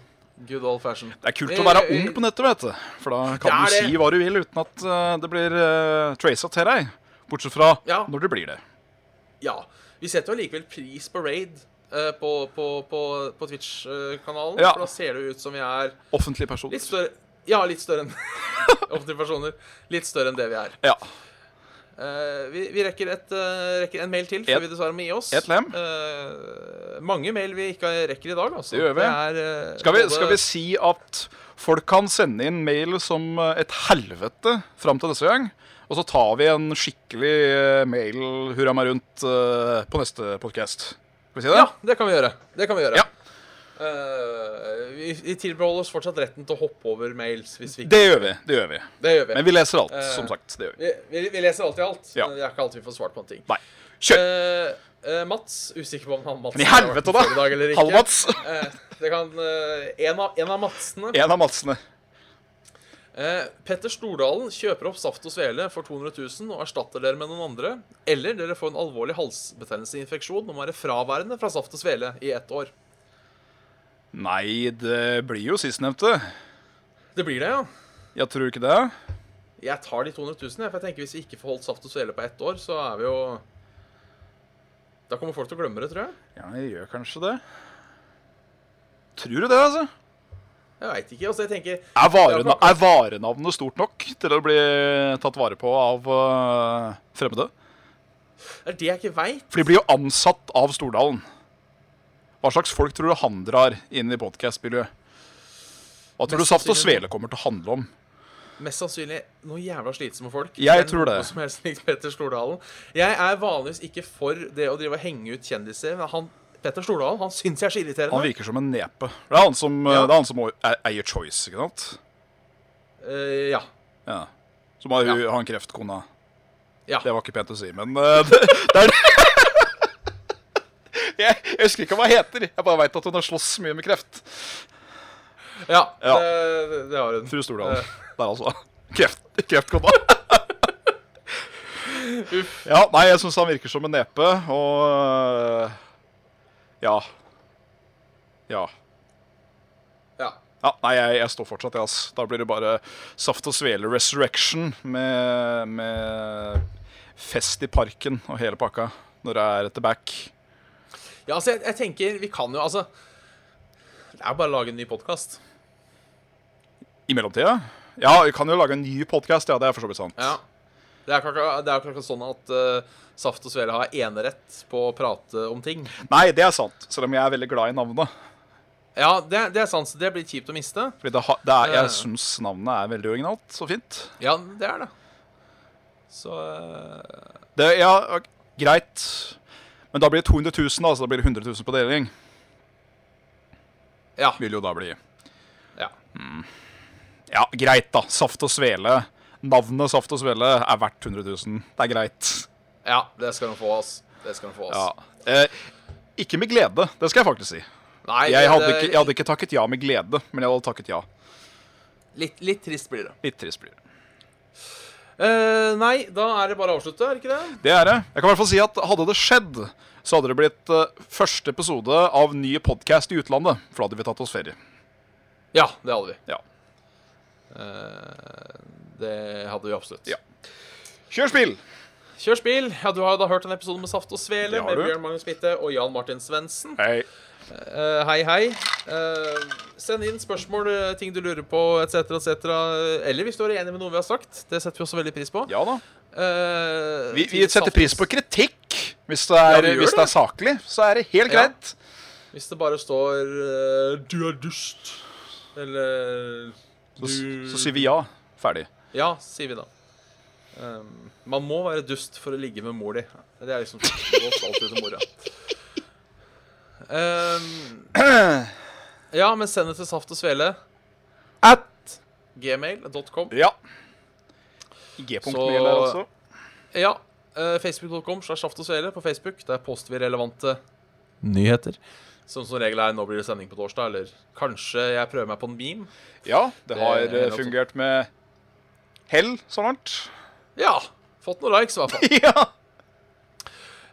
S1: good old fashion.
S2: Det er kult å være ung på nettet, vet du. For da
S1: Det
S2: kan
S1: er
S2: du si
S1: det.
S2: hva du vil uten at eh, det blir uh, traca til deg. Bortsett fra
S1: Ja.
S2: når det blir det.
S1: Ja. Vi setter jo likevel pris på Raid eh, på, på, på, på Twitch-kanalen.
S2: Ja.
S1: For da ser det jo ut som vi er
S2: Offentlige personer.
S1: litt større Ja, litt større enn offentlige personer. Litt større enn det vi er.
S2: Ja.
S1: Eh, vi vi rekker, et, eh, rekker en mail til før
S2: Et-
S1: vi dessverre må gi oss.
S2: et lem.
S1: Eh, mange mail vi ikke rekker i dag, altså.
S2: Det gjør vi.
S1: er, eh,
S2: Skal vi,
S1: både-
S2: skal vi si at folk kan sende inn mail som eh, et helvete fram til neste gang? Og så tar vi en skikkelig eh, mail hurra meg rundt eh, på neste podkast. Skal vi si det?
S1: Ja, det kan vi gjøre. Det kan vi gjøre.
S2: Ja.
S1: Eh, vi, vi tilbeholder oss fortsatt retten til å hoppe over mails hvis vi ikke
S2: Det gjør vi. det gjør vi.
S1: Det gjør vi.
S2: Men vi leser alt,
S1: Eh,
S2: som sagt. det gjør vi.
S1: Vi, vi, vi leser alltid alt.
S2: Ja.
S1: Men det er ikke alltid vi får svart på en ting.
S2: Nei. Kjør!
S1: Eh, eh, Mats Usikker på om han Mats
S2: Men i helvete, da! Halvmats!
S1: det kan eh, en, av, en av Matsene.
S2: En av Madsene.
S1: Eh, Petter Stordalen kjøper opp Saft og Svele for 200 000 og erstatter dere med noen andre. Eller dere får en alvorlig halsbetennelseinfeksjon og må være fraværende fra Saft og Svele i ett år.
S2: Nei, det blir jo sistnevnte.
S1: Det blir det, ja.
S2: Jeg tror ikke det.
S1: Jeg tar de 200 000, jeg, for jeg tenker hvis vi ikke får holdt Saft og Svele på ett år, så er vi jo Da kommer folk til å glemme det, tror jeg.
S2: Ja, jeg gjør kanskje det. Tror du det, altså?
S1: Jeg veit ikke. Altså, jeg tenker
S2: Er,
S1: Ja,
S2: varena
S1: klart.
S2: er varenavnet stort nok til å bli tatt vare på av øh, fremmede?
S1: Det er det jeg ikke veit.
S2: For de blir jo ansatt av Stordalen. Hva slags folk tror du han drar inn i podkast-miljøet? Hva tror du
S1: Mest
S2: Saft og
S1: sannsynlig-
S2: Svele kommer til å handle om?
S1: Mest sannsynlig noe jævla slitsomme folk.
S2: Jeg
S1: er
S2: tror det.
S1: Noe som helst likt Petter Stordalen. Jeg er vanligvis ikke for det å drive og henge ut kjendiser, men han, Petter Stordalen han syns jeg er så irriterende.
S2: Han virker som en nepe. Det er han som, øh,
S1: Ja.
S2: det er han som må- e- eier Choice, ikke sant?
S1: Eh, ja.
S2: Ja. Som har,
S1: Ja.
S2: har en kreftkona.
S1: Ja.
S2: Det var ikke pent å si, men øh, det, det er jeg, jeg husker ikke hva hun heter. Jeg bare veit at hun har slåss mye med kreft.
S1: ja,
S2: Ja.
S1: Det, det har hun.
S2: Fru Stordalen. Der, altså. Kreft, kreftkona. ja, nei, jeg syns han virker som en nepe, og øh, Ja. Ja.
S1: Ja.
S2: ja nei, jeg, jeg står fortsatt i, ass. Da blir det bare Saft og Svele Resurrection med, med fest i parken og hele pakka når det er etter back.
S1: ja, altså, jeg, jeg tenker Vi kan jo altså Det er jo bare å lage en ny podkast.
S2: I mellomtida? Ja, vi kan jo lage en ny podkast, ja. Det er for så vidt sant.
S1: Ja. Det er jo ikke det er jo ikke akkurat sånn at eh, Saft og Svele har enerett på å prate om ting.
S2: Nei, det er sant, selv om jeg er veldig glad i navnet.
S1: Ja, det, det er sant. så Det blir kjipt å miste.
S2: Fordi det, ha, det er,
S1: Ja, ja.
S2: jeg syns navnet er veldig originalt og fint.
S1: Ja, det er det. Så eh,
S2: Det, ja, ok, greit. Men da blir det 200 000, da, så da blir det 100 000 på deling.
S1: Ja.
S2: Vil jo da bli.
S1: ja.
S2: Ja, greit, da. Saft og svele. Navnet Saft og svele er verdt 100 000. Det er greit.
S1: Ja, det skal han få, ass. Det skal han få,
S2: Ja.
S1: ass.
S2: Eh, ikke med glede, det skal jeg faktisk si.
S1: Nei,
S2: Jeg
S1: det-
S2: hadde
S1: det-
S2: ikke, jeg hadde ikke takket ja med glede, men jeg hadde takket ja.
S1: Litt, litt trist blir det.
S2: Litt trist blir det.
S1: Eh, nei, da er det bare å avslutte, er det ikke det?
S2: Det er det. Jeg kan i hvert fall si at hadde det skjedd, så hadde det blitt eh, første episode av ny podkast i utlandet. For da hadde vi tatt oss ferie.
S1: Ja, det hadde vi.
S2: Ja.
S1: Eh, det hadde vi absolutt.
S2: Ja. Kjør spill!
S1: Kjør spill! Ja, du har da hørt en episode med Saft og Svele
S2: Det har
S1: med
S2: du.
S1: Bjørn Magnus Mitte og Jan Martin Svendsen.
S2: Hei.
S1: Eh, hei, hei. Eh, send inn spørsmål, eh, ting du lurer på, etc., etc. Eller hvis du er enig med noe vi har sagt. Det setter vi også veldig pris på.
S2: Ja da.
S1: Eh,
S2: Vi, vi
S1: til
S2: setter
S1: Saft-
S2: pris på kritikk. Hvis det er,
S1: Ja, vi gjør
S2: hvis det er saklig, så er det helt
S1: Ja.
S2: greit.
S1: Hvis det bare står eh, 'du er dust' eller
S2: Så,
S1: du...
S2: så sier vi ja. Ferdig.
S1: Ja, sier vi da. Ehm, man må være dust for å ligge med mor di. Det er liksom det går alltid til mora. Ehm, ja, men send det til saft og svele.
S2: At
S1: Gmail.com.
S2: Ja. G-punkt
S1: Så-
S2: med eller altså.
S1: Ja. eh, Facebook.com slash saft og svele på Facebook. Der poster vi relevante nyheter. Som som regel er 'nå blir det sending på torsdag', eller kanskje jeg prøver meg på en meme.
S2: Ja, det har
S1: Det er
S2: eh, fungert med hell så langt.
S1: Ja. Fått noen likes, i hvert fall.
S2: ja.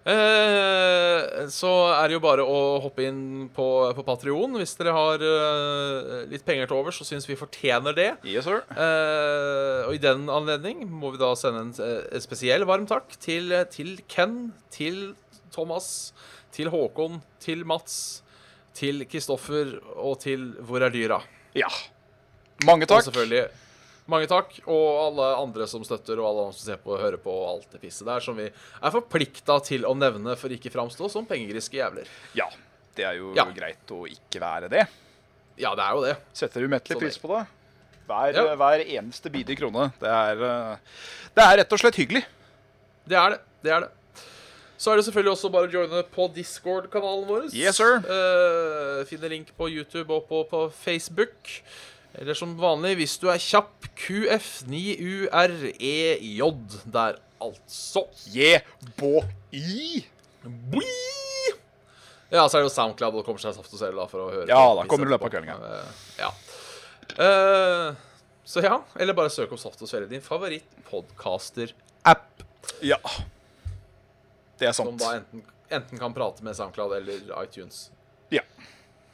S1: Eh, så er det jo bare å hoppe inn på, på Patrion hvis dere har eh, litt penger til overs og syns vi fortjener det.
S2: Yes, sir.
S1: Eh, og i den anledning må vi da sende en eh, en spesiell varm takk til, eh, til Ken, til Thomas, til Håkon, til Mats, til Kristoffer og til Hvor er dyra?
S2: Ja. Mange
S1: Og
S2: takk.
S1: selvfølgelig mange takk, og alle andre som støtter, og alle andre som ser på og hører på, og alt det pisset der som vi er forplikta til å nevne for ikke framstå som pengegriske jævler.
S2: Ja. Det er jo
S1: Ja.
S2: greit å ikke være det.
S1: Ja, det er jo det.
S2: Setter umettelig
S1: Så
S2: pris på det. Hver,
S1: Ja.
S2: hver eneste bidige krone. Det er, eh, det er rett og slett hyggelig.
S1: Det er det. Det er det. Så er det selvfølgelig også bare å joine på Discord-kanalen vår.
S2: Yes, sir.
S1: Eh, finner link på YouTube og på, på Facebook. Eller som vanlig, hvis du er kjapp, QF9UREJ E der, altså.
S2: Je-bo-i.
S1: Boi! Ja, så er det jo SoundCloud, og det kommer seg saft og sel da, for å høre
S2: Ja,
S1: på
S2: da
S1: piss
S2: kommer det i løpet av
S1: etterpå.
S2: kvelden,
S1: Eh, ja. Eh, så ja, eller bare søk om Saft og Svele, din favorittpodcaster-app,
S2: Ja. Det er
S1: som
S2: sant.
S1: da enten, enten kan prate med SoundCloud eller iTunes.
S2: Ja.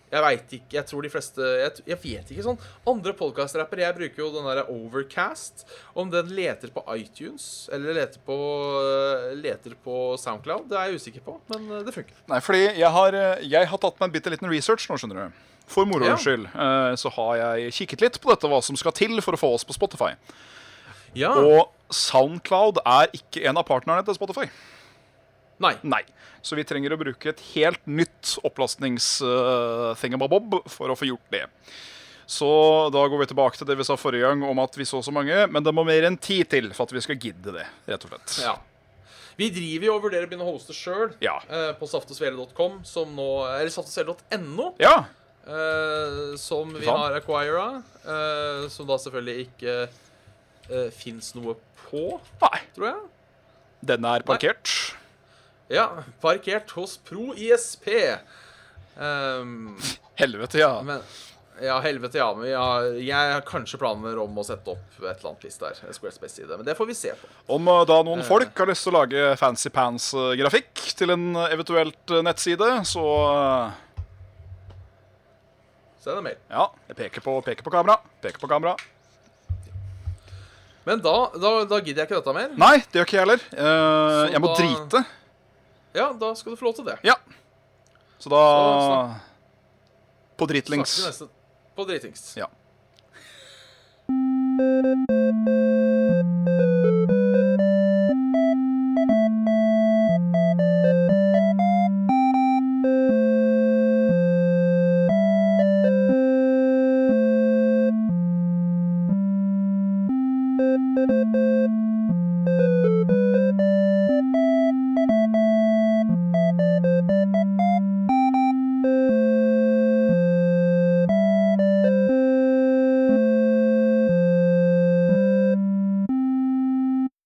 S1: Jeg veit ikke. Jeg tror de fleste Jeg, t- jeg vet ikke sånn. Andre podkastrapper Jeg bruker jo den derre Overcast. Om den leter på iTunes eller leter på, øh, leter på SoundCloud, det er jeg usikker på, men eh, det funker.
S2: Nei, fordi jeg har, eh, jeg har tatt meg en bitte liten research nå, skjønner du. For moro
S1: Ja.
S2: skyld eh, så har jeg kikket litt på dette, hva som skal til for å få oss på Spotify.
S1: Ja.
S2: Og SoundCloud er ikke en av partnerne til Spotify.
S1: Nei.
S2: Nei. Så vi trenger å bruke et helt nytt opplastnings-thingamabob for å få gjort det. Så da går vi tilbake til det vi sa forrige gang om at vi så så mange, men det må mer enn ti til for at vi skal gidde det, rett og slett.
S1: Ja. Vi driver jo og vurderer å begynne å hoste sjøl
S2: Ja.
S1: eh, på saftogsvele.com, som nå Eller saftogsvele.no,
S2: Ja,
S1: eh, som vi
S2: Faen.
S1: har acquira, eh, som da selvfølgelig ikke eh, fins noe på,
S2: Nei.
S1: tror jeg.
S2: Denne er parkert.
S1: Ja, parkert hos Pro ISP. Ehm,
S2: Helvete, ja.
S1: men ja, helvete, ja. Men vi har, jeg har kanskje planer om å sette opp et eller annet list der. Squarespace-side. Men det får vi se på.
S2: Om eh, da noen folk har lyst til å lage fancy pants-grafikk til en eh, eventuelt eh, nettside, så eh,
S1: Send en mail.
S2: ja, jeg peker på, peker på kamera. Peker på kamera.
S1: Men da, da, da gidder jeg ikke dette mer.
S2: Nei, det gjør ikke jeg heller. Eh,
S1: Så
S2: jeg må
S1: da-
S2: drite.
S1: Ja, da skal du få lov til det.
S2: Ja. Så da
S1: Så
S2: På dritlengs.
S1: Snakkes vi neste- På dritings.
S2: Ja.